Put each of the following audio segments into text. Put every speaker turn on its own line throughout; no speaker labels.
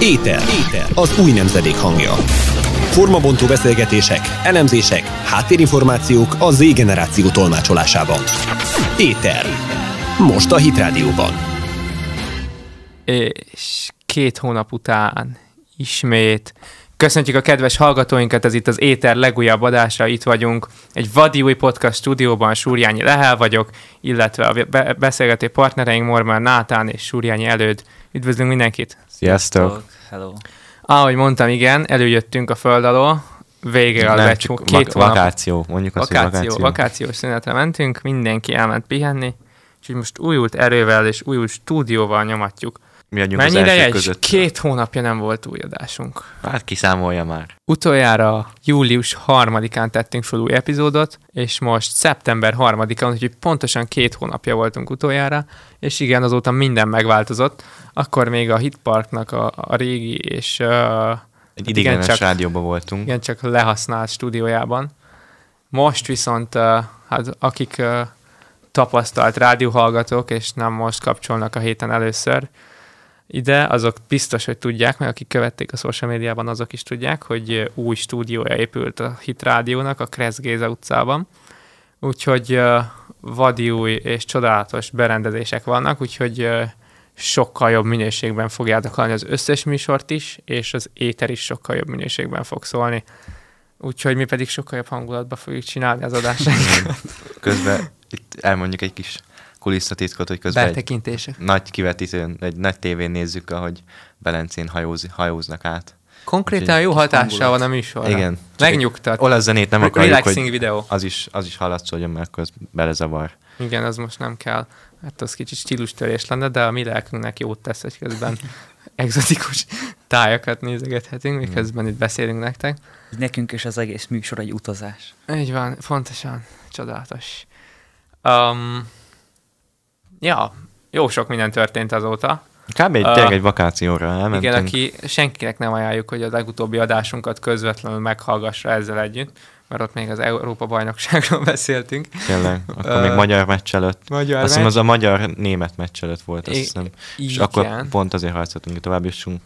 Éter. Éter. Az új nemzedék hangja. Formabontó beszélgetések, elemzések, háttérinformációk a Z generáció tolmácsolásában. Éter. Most a Hitrádióban.
És két hónap után ismét Köszöntjük a kedves hallgatóinkat, ez itt az Éter legújabb adása, itt vagyunk. Egy vadi új podcast stúdióban Súrjányi Lehel vagyok, illetve a be- beszélgető partnereink Mormár Nátán és Súrjányi Előd. Üdvözlünk mindenkit!
Sziasztok!
Hello.
Ahogy mondtam, igen, előjöttünk a föld alól, végre az
Nem,
egy
csak
hó-
vak-
két hónap.
Vakáció, mondjuk azt,
vakáció,
hogy vakáció.
vakációs szünetre mentünk, mindenki elment pihenni, és így most újult erővel és újult stúdióval nyomatjuk.
Mi adjunk
Mennyi
az
ideje?
első
És
között?
két hónapja nem volt új adásunk.
Hát kiszámolja már.
Utoljára július 3-án tettünk fel új epizódot, és most szeptember 3-án, úgyhogy pontosan két hónapja voltunk utoljára, és igen, azóta minden megváltozott. Akkor még a Hitparknak a, a régi és uh,
Egy
igen,
ideiglenes
csak-
rádióban voltunk.
igen, csak lehasznált stúdiójában. Most viszont, uh, hát akik uh, tapasztalt rádióhallgatók, és nem most kapcsolnak a héten először ide, azok biztos, hogy tudják, mert akik követték a social médiában, azok is tudják, hogy ö, új stúdiója épült a Hit Rádiónak a Kressz Géza utcában. Úgyhogy uh, vadi új és csodálatos berendezések vannak, úgyhogy uh, sokkal jobb minőségben fogjátok hallani az összes műsort is, és az éter is sokkal jobb minőségben fog szólni. Úgyhogy mi pedig sokkal jobb hangulatban fogjuk csinálni az adásainkat.
Közben itt elmondjuk egy kis kulisszatitkot, hogy közben egy
Betekintések.
nagy kivetítőn, egy nagy tévén nézzük, ahogy Belencén hajóz, hajóznak át.
Konkrétan
Úgyhogy
jó hatással
hangulat.
van a műsorra.
Igen. Csak egy
Megnyugtat.
Hát Olasz zenét nem
Re-
akarjuk,
relaxing
hogy
videó.
az is, az is hallatszódjon, mert akkor az belezavar.
Igen, az most nem kell. Hát az kicsit stílustörés lenne, de a mi lelkünknek jót tesz, hogy közben egzotikus tájakat nézegethetünk, miközben itt beszélünk nektek.
Így nekünk is az egész műsor egy utazás.
Így van, fontosan, csodálatos. Um, ja, jó sok minden történt azóta.
Kb. egy,
Ah.
tényleg egy vakációra elmentünk.
Igen, aki senkinek nem ajánljuk, hogy a legutóbbi adásunkat közvetlenül meghallgassa ezzel együtt, mert ott még az Európa-bajnokságról beszéltünk.
Tényleg, akkor még
Ah.
magyar meccs előtt.
Magyar
Azt
meccs.
hiszem az a magyar-német meccs előtt volt, azt
I-
hiszem. És
igen.
akkor pont azért harcoltunk, hogy tovább jussunk.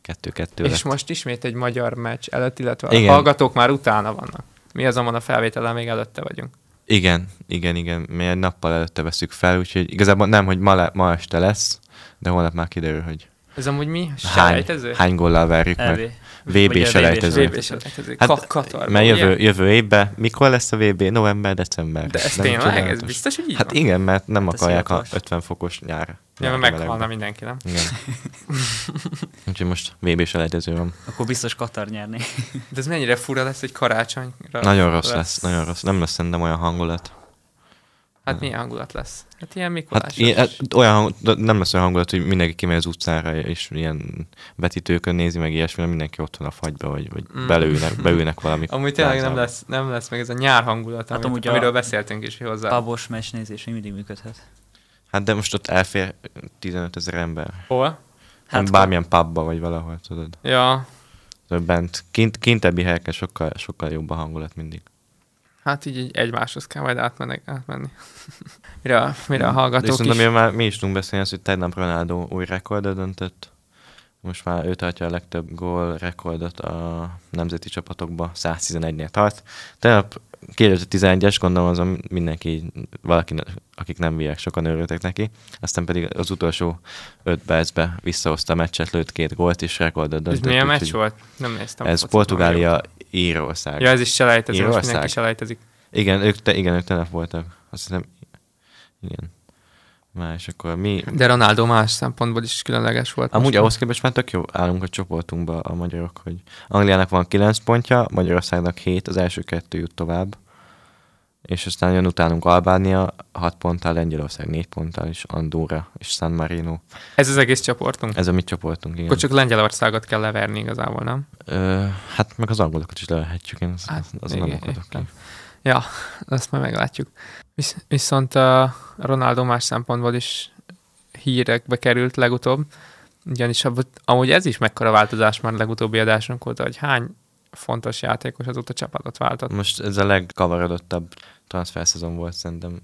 Kettő-kettő
És
lett.
most ismét egy magyar meccs előtt, illetve
Igen.
a hallgatók már utána vannak. Mi azonban a felvételen még előtte vagyunk.
Igen, igen, igen. Mi egy nappal előtte veszük fel, úgyhogy igazából nem, hogy ma, le, ma este lesz, de holnap már kiderül, hogy
Ez amúgy mi?
hány,
Selejtező?
hány gollal verjük
EB.
meg.
Vagy a
VB
VB
selejtező.
VB selejtező. Ka-
Hát,
Katarban,
mert
ugye?
jövő, jövő évben, mikor lesz a VB? November, december.
De ez
Nem
tényleg? Ez
csodálatos.
biztos, hogy így
Hát
van?
igen, mert nem akarják a
szivatos.
50 fokos nyár.
Ja, mert
nyár
meghalna
melegben.
mindenki, nem?
Igen. Úgyhogy most VB selejtező van.
Akkor biztos Katar nyerni.
De ez mennyire fura lesz, hogy karácsonyra
Nagyon rossz lesz, nagyon rossz. Nem lesz szerintem olyan hangulat.
Hát milyen hangulat lesz? Hát ilyen
Hát,
Mikulásos.
ilyen, hát olyan hang, de nem lesz olyan hangulat, hogy mindenki kimegy az utcára, és ilyen vetítőkön nézi meg ilyesmi, hanem mindenki ott van a fagyba, vagy, vagy
Mm.
belőnek, beülnek valami.
Amúgy tényleg nem
plázába.
lesz, nem lesz meg ez a nyár hangulat,
Hát
amit,
amúgy a-
amiről beszéltünk is hozzá.
Pabos meccs nézés még mindig működhet.
Hát de most ott elfér 15 ezer ember.
Hol?
Hát bármilyen pubba, vagy valahol, tudod.
Ja,
Tudod, Bent, kint, kintebbi helyeken sokkal, sokkal jobb a hangulat mindig.
hát így, így egymáshoz kell majd átmenni. átmenni. mire, a, mire a
De
hallgatók
viszont
is...
amiről már mi is tudunk beszélni, az, hogy tegnap Ronaldo új rekordra döntött. Most már ő tartja a legtöbb gól rekordot a nemzeti csapatokba, 111-nél tart. Tegnap 2011-es, gondolom azon mindenki, valaki, akik nem viek, sokan örültek neki. Aztán pedig az utolsó 5 percbe visszahozta a meccset, lőtt két gólt és rekordot
Ez
döntött.
milyen
úgyhogy
meccs volt? Nem néztem. a
Ez
focit, nem vagyok.
Portugália, Írország.
Ja, ez is selejtező, most
Írország.
mindenki selejtezik.
Igen, ők, te, igen, ők telep voltak. Azt hiszem, igen. Már és akkor mi,
De Ronaldo más szempontból is különleges volt.
Amúgy
most.
ahhoz képest már tök jó állunk a csoportunkba a magyarok, hogy Angliának van 9 pontja, Magyarországnak 7, az első kettő jut tovább, és aztán jön utánunk Albánia 6 ponttal, Lengyelország 4 ponttal, és Andorra és San Marino.
Ez az egész csoportunk?
Ez a mi csoportunk, igen.
Akkor csak Lengyelországot kell leverni igazából, nem?
Ö, hát meg az angolokat is lehetjük, én az,
Hát,
az, azon nem
igen,
akadok ki.
értem. Ja, azt majd meglátjuk. Visz, viszont a Ronaldo más szempontból is hírekbe került legutóbb, ugyanis ab- amúgy ez is mekkora változás már legutóbbi adásunk óta, hogy hány fontos játékos azóta csapatot váltott.
Most ez a legkavarodottabb transferszezon volt szerintem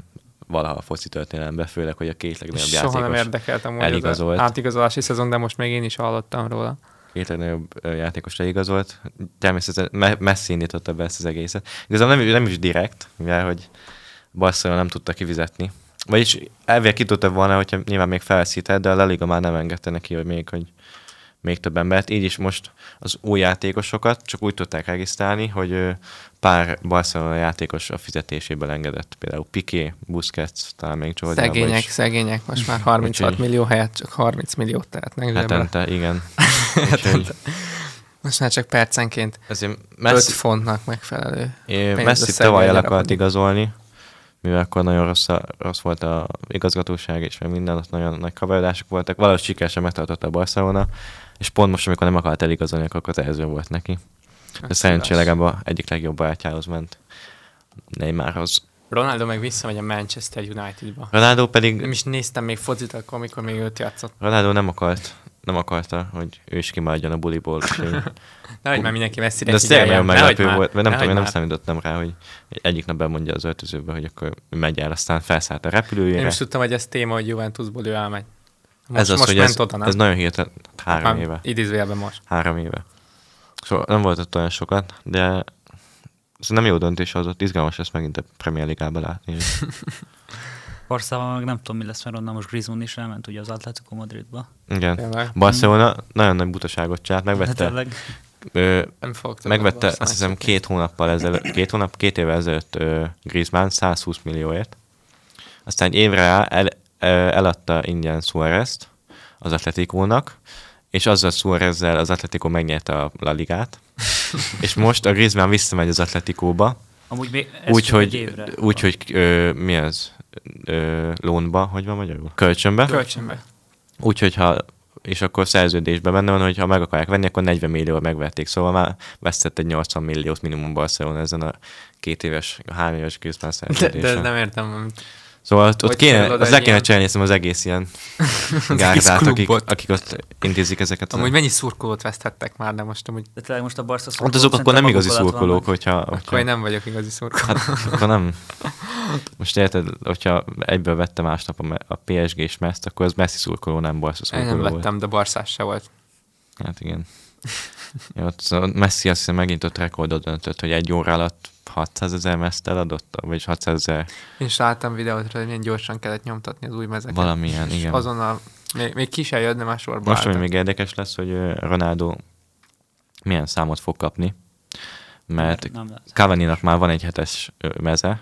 valaha a foci történelemben, főleg, hogy a két legnagyobb
Soha nem
játékos,
érdekeltem úgy az
eligazolt.
átigazolási szezon, de most még én is hallottam róla.
két legnagyobb ö, játékos leigazolt. Természetesen me- Messi indította be ezt az egészet. Igazából nem, nem is direkt, mivel hogy Barcelona nem tudta kifizetni. Vagyis elvileg ki tudta volna, hogyha nyilván még felszített, de a La Liga már nem engedte neki, hogy még, hogy még több embert. Így is most az új játékosokat csak úgy tudták regisztrálni, hogy ö, pár Barcelona játékos a fizetéséből engedett. Például Piqué, Busquets, talán még Jordan.
Szegények, szegények, most már 36
Úgyhogy-
millió helyett csak 30 milliót tehetnek zsebre.
Hetente, igen. Úgyhogy
Most már csak percenként
Ezért
5
Messi,
fontnak megfelelő.
Én
pénzt
Messi
összegben
tavaly el
lerakod.
akart igazolni, mivel akkor nagyon rossz, a, rossz volt a igazgatóság, és meg minden, ott nagyon nagy kavarodások voltak. Valahogy sikeresen megtartotta a Barcelona, és pont most, amikor nem akart eligazolni, akkor kötelező volt neki.
Hát,
De szerencsére legalább a egyik legjobb barátjához ment, Neymarhoz.
Ronaldo meg visszamegy a Manchester Unitedba.
Ronaldo
Nem
pedig,
is néztem még focit akkor, amikor még őt játszott.
Ronaldo nem akart, nem akarta, hogy ő is kimaradjon a buliból. úgyhogy-
Nehogy már mindenki messzire
De ez tényleg nagyon
figyeljen. Nehogy
meglepő
már,
volt, mert nem
nehogy
tudom, én nem
már.
számítottam rá, hogy egyik nap bemondja az öltözőbe, hogy akkor megy el, aztán felszállt a repülőjére.
Én is tudtam, hogy ez téma, hogy Juventusból ő elmegy. Most,
ez az,
most
hogy
ment
ez,
oda, nem?
ez nagyon hirtelen, hát három
Már
éve.
Idézőjelben most.
Három éve. Szóval nem volt ott olyan sokat, de ez nem jó döntés hozott, izgalmas ezt megint a Premier Ligában látni.
Barszában meg nem tudom, mi lesz, mert onnan most Griezmann is elment ugye az Atletico Madridba.
Igen.
Tényleg.
Barcelona nagyon nagy butaságot csinált,
Hát
megvette,
tényleg.
ö,
Nem fogok
Szóval
többet
megvette
Barcelonát
azt hiszem
nézni.
két hónappal ezelőtt, két hónap, két évvel ezelőtt ö, Griezmann 120 millióért. Aztán egy évre rá el, ö, eladta ingyen Suárez-t az Atletikónak, és azzal Suárez-zel az Atletico megnyerte a La Ligát, és most a Griezmann visszamegy az Atletikóba,
Amúgy még ez csak egy
úgyhogy
évre.
úgy, hogy, ö, mi ez, ö, lónba, hogy van magyarul? Kölcsönbe.
Kölcsönbe.
Úgyhogy ha és akkor szerződésben benne van, hogy ha meg akarják venni, akkor 40 millió megverték. Szóval már vesztett egy 80 milliót minimum Barcelona ezen a két éves, három éves közben
De, de
szerződésen.
ezt nem értem. amit-
Szóval ott, ott
Hogy
kéne,
csinálod
az le
egy
kéne
ilyen-
csinálni hiszem, az egész ilyen gárdát, akik,
klubot.
akik ott intézik ezeket.
Amúgy mennyi szurkolót vesztettek már, de most amúgy
De tényleg most a Barca
Ott
szurkolók
Hát azok akkor
szerintem
nem igazi
maguk alatt
szurkolók,
vannak.
hogyha...
akkor
hogyha
én nem vagyok igazi szurkoló.
Hát akkor nem. Most érted, hogyha egyből vette másnap a, me- a PSG-s mezt, akkor az Messi szurkoló, nem Barca
Én
szurkoló
nem
volt.
vettem, de barszás se volt.
Hát igen. Ja, ott, szóval Messi azt hiszem megint ott rekordot döntött, hogy egy óra alatt 600 ezer mezt eladott, vagy 600 ezer
Én is láttam videót, hogy milyen gyorsan kellett nyomtatni az új mezeket.
valamilyen,
És
igen.
azonnal, még, még ki se jött, de már sorba
Most, ami
álltak.
még érdekes lesz, hogy ö, Ronaldo milyen számot fog kapni, mert
Nem lehet.
Cavani-nak már van egy hetes ö, meze,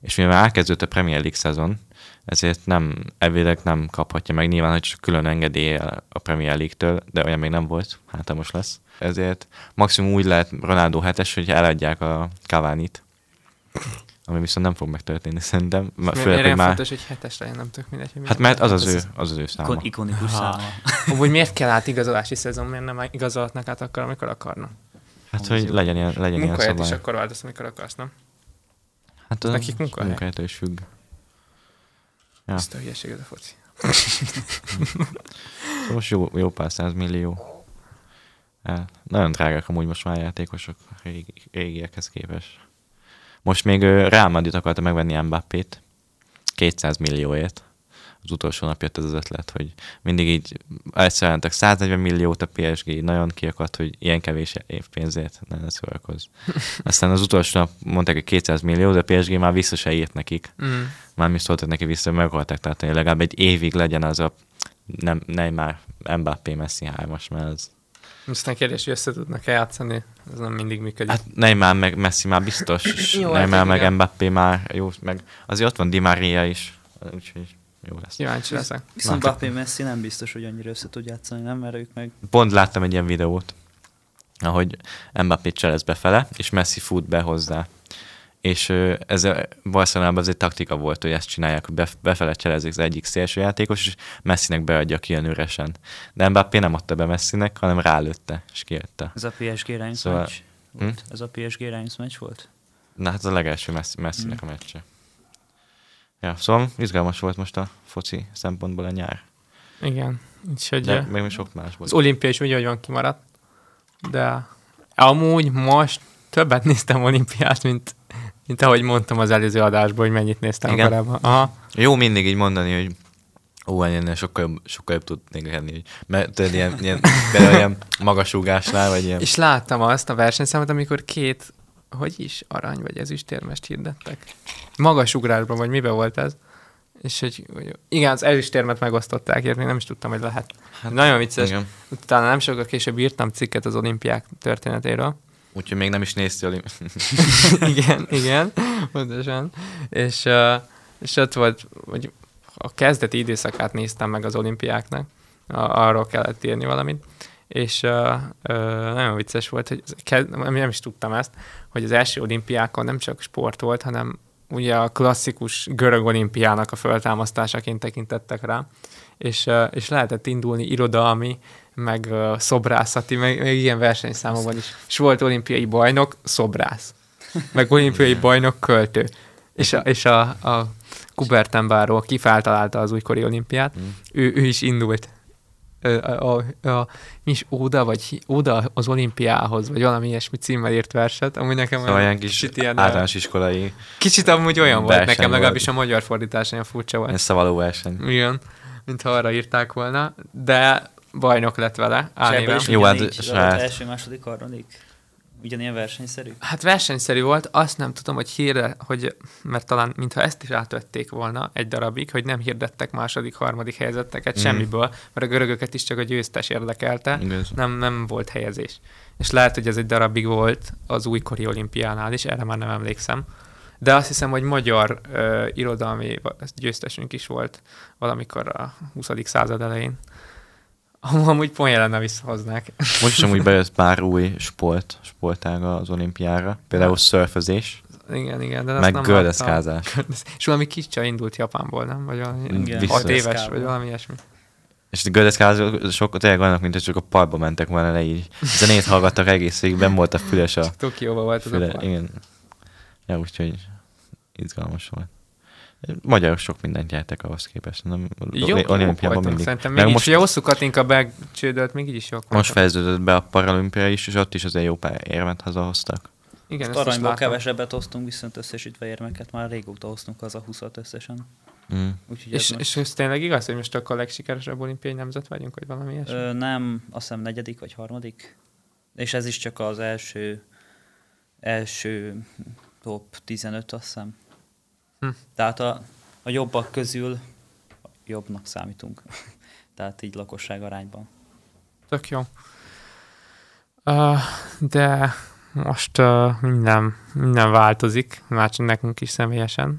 és mivel elkezdődött a Premier League szezon, ezért nem, elvileg nem kaphatja meg, nyilván, hogy csak külön engedélye a Premier League-től, de olyan még nem volt, hát ha most lesz. Ezért maximum úgy lehet Ronaldo hetes, hogy eladják a Cavani-t, ami viszont nem fog megtörténni szerintem,
Mi-
m-
Miért
főleg, hogy
olyan
már...
fontos, hogy hetes legyen, nem tök mindegy. hogy
Hát
milyen.
mert az az,
Ez-
ő, az, az ő száma.
Ikon- Ikonikus száma.
Amúgy miért kell át igazolási szezon, miért nem igazolhatnak át akkor, amikor akarnak?
Hát, hogy legyen ilyen, legyen ilyen
Munkahelyet is
szabály.
akkor változ, amikor akarsz, nem?
Hát
az
az
nekik munkahely.
Munkahelytől is függ. Ja.
Ezt a hülyeség ez a foci.
Szóval Most jó, jó pár millió. El. Nagyon drágák amúgy most már a játékosok régi, régiekhez képest. Most még ö, Real Madrid akarta megvenni Mbappét 200 millióért. Az utolsó nap jött ez az ötlet, hogy mindig így elszereltek 140 milliót a PSG, nagyon ki akart, hogy ilyen kevés év pénzért ne, ne szórakozz. Aztán az utolsó nap mondták, hogy 200 millió, de a PSG már vissza se írt nekik.
Mm.
Mármint szóltak neki vissza, meg akarták tartani, hogy legalább egy évig legyen az a nem, nem már Mbappé Messi hármas, mert az...
Aztán kérdés, hogy össze tudnak-e játszani, ez nem mindig működik. Hát,
Hát Neymar meg Messi már biztos, és
Jó,
Neymar
hát
meg
igen.
Mbappé már jó, meg azért ott van Di Maria is, úgyhogy jó lesz.
Kíváncsi leszek.
Viszont
Na.
Bappé Messi nem biztos, hogy annyira össze tud játszani, nem? Mert ők meg
Pont láttam egy ilyen videót, ahogy Mbappé cselez befele, és Messi fut be hozzá. És ö, ez a- Barcelonában ez egy taktika volt, hogy ezt csinálják, hogy bef- befele cselezik az egyik szélső játékos, és Messinek beadja ki ilyen üresen. De Mbappé nem adta be Messinek, hanem rálőtte, és kijött.
ez a PSG Reims
Szóval-
meccs volt.
Hm?
Ez a PSG Reims meccs volt?
Na hát ez a legelső Messi, Messinek a meccse. Ja, szóval izgalmas volt most a foci szempontból a nyár.
Igen, úgyhogy...
De
eh,
még sok más
Az
volt.
olimpia is úgy, ahogy van kimaradt. De amúgy most többet néztem olimpiát, mint Mint ahogy mondtam az előző adásban, hogy mennyit néztem
Igen.
Igen. korábban. Aha.
Jó mindig így mondani, hogy ó, hát ennél sokkal jobb, sokkal jobb tudnék lenni. így. Mert tudod, ilyen, ilyen, például ilyen magasúgásnál, vagy ilyen.
És láttam azt a versenyszámot, amikor két, hogy is, arany vagy ezüstérmest hirdettek. Magas ugrásban, vagy miben volt ez? És hogy, hogy- igen, az ezüstérmet megosztották, én még nem is tudtam, hogy lehet. Hát, Nagyon vicces. Igen.
Igen.
Utána nem sokkal később írtam cikket az olimpiák történetéről.
Úgyhogy még nem is nézti a lim-
igen, igen, pontosan. És, uh, és ott volt, hogy a kezdeti időszakát néztem meg az olimpiáknak, a, arról kellett írni valamit, és uh, uh, nagyon vicces volt, hogy az kez, nem nem is tudtam ezt, hogy az első olimpiákon nem csak sport volt, hanem ugye a klasszikus görög olimpiának a föltámasztásaként tekintettek rá, és, uh, és lehetett indulni irodalmi, meg uh, szobrászati, meg, meg ilyen versenyszámokban is. És volt olimpiai bajnok, szobrász meg olimpiai bajnok költő. És a, és a, a Kuberten báró, aki feltalálta az újkori olimpiát, mm. ő, ő is indult. Ö, A, a, a, mi is Óda, vagy Óda az olimpiához, vagy valami ilyesmi címmel írt verset, ami nekem
szóval
olyan
ilyen kis
kicsit ilyen,
általános iskolai
kicsit amúgy olyan volt
verseny
nekem,
volt.
legalábbis a magyar fordítás olyan furcsa volt.
szavaló verseny.
Igen, mintha arra írták volna, de bajnok lett vele, álnéven.
is Jó, hát saját.
első, második, harmadik. Ugyanilyen versenyszerű.
Hát versenyszerű volt, azt nem tudom, hogy hírre, hogy, mert talán mintha ezt is átvették volna egy darabig, hogy nem hirdettek második, harmadik helyzeteket
Mhm.
mm. semmiből, mert a görögöket is csak a győztes érdekelte,
Igaz.
nem, nem volt helyezés. És lehet, hogy ez egy darabig volt az újkori olimpiánál is, erre már nem emlékszem. De azt hiszem, hogy magyar ö, irodalmi va- győztesünk is volt valamikor a 20. század elején. Am- Amúgy pont jelenne visszahoznák.
Most is amúgy bejött pár új sport, sportága az olimpiára. Például szörfözés,
igen, igen, de azt
meg
nem láttam.
gördeszkázás.
És valami kis csaj indult Japánból, nem? Vagy valami
Igen.
hat
Vissza.
éves, vagy valami ilyesmi.
És a gördeszkázások sok tényleg olyanok, mint hogy csak a parkba mentek volna le így. Zenét hallgattak egész végig, benn volt a füles a...
Tokióban volt az
Füle,
a igen.
igen. Ja, úgyhogy izgalmas volt. Magyarok sok mindent jártak ahhoz képest. Nem,
Jó,
olimpiában
mindig.
mindig.
Szerintem
Meg
mégis,
most,
ugye hosszú Katinka becsődölt, még így is jók
most
voltak.
fejeződött be a paralimpia is, és ott is azért jó pár érmet hazahoztak.
Igen, ezt is
Aranyból
látom.
kevesebbet hoztunk, viszont összesítve érmeket már régóta hoztunk az a 20 összesen.
Mm.
Úgyhogy ez
És,
most-
és ez tényleg igaz, hogy most akkor a legsikeresebb olimpiai nemzet vagyunk, vagy valami ilyesmi?
Ö, nem, azt hiszem negyedik vagy harmadik. És ez is csak az első, első top 15, azt hiszem.
Hm.
Tehát a, a jobbak közül jobbnak számítunk. Tehát így lakosság arányban.
Tök jó. Uh, de most uh, minden, minden változik, már csak nekünk is személyesen.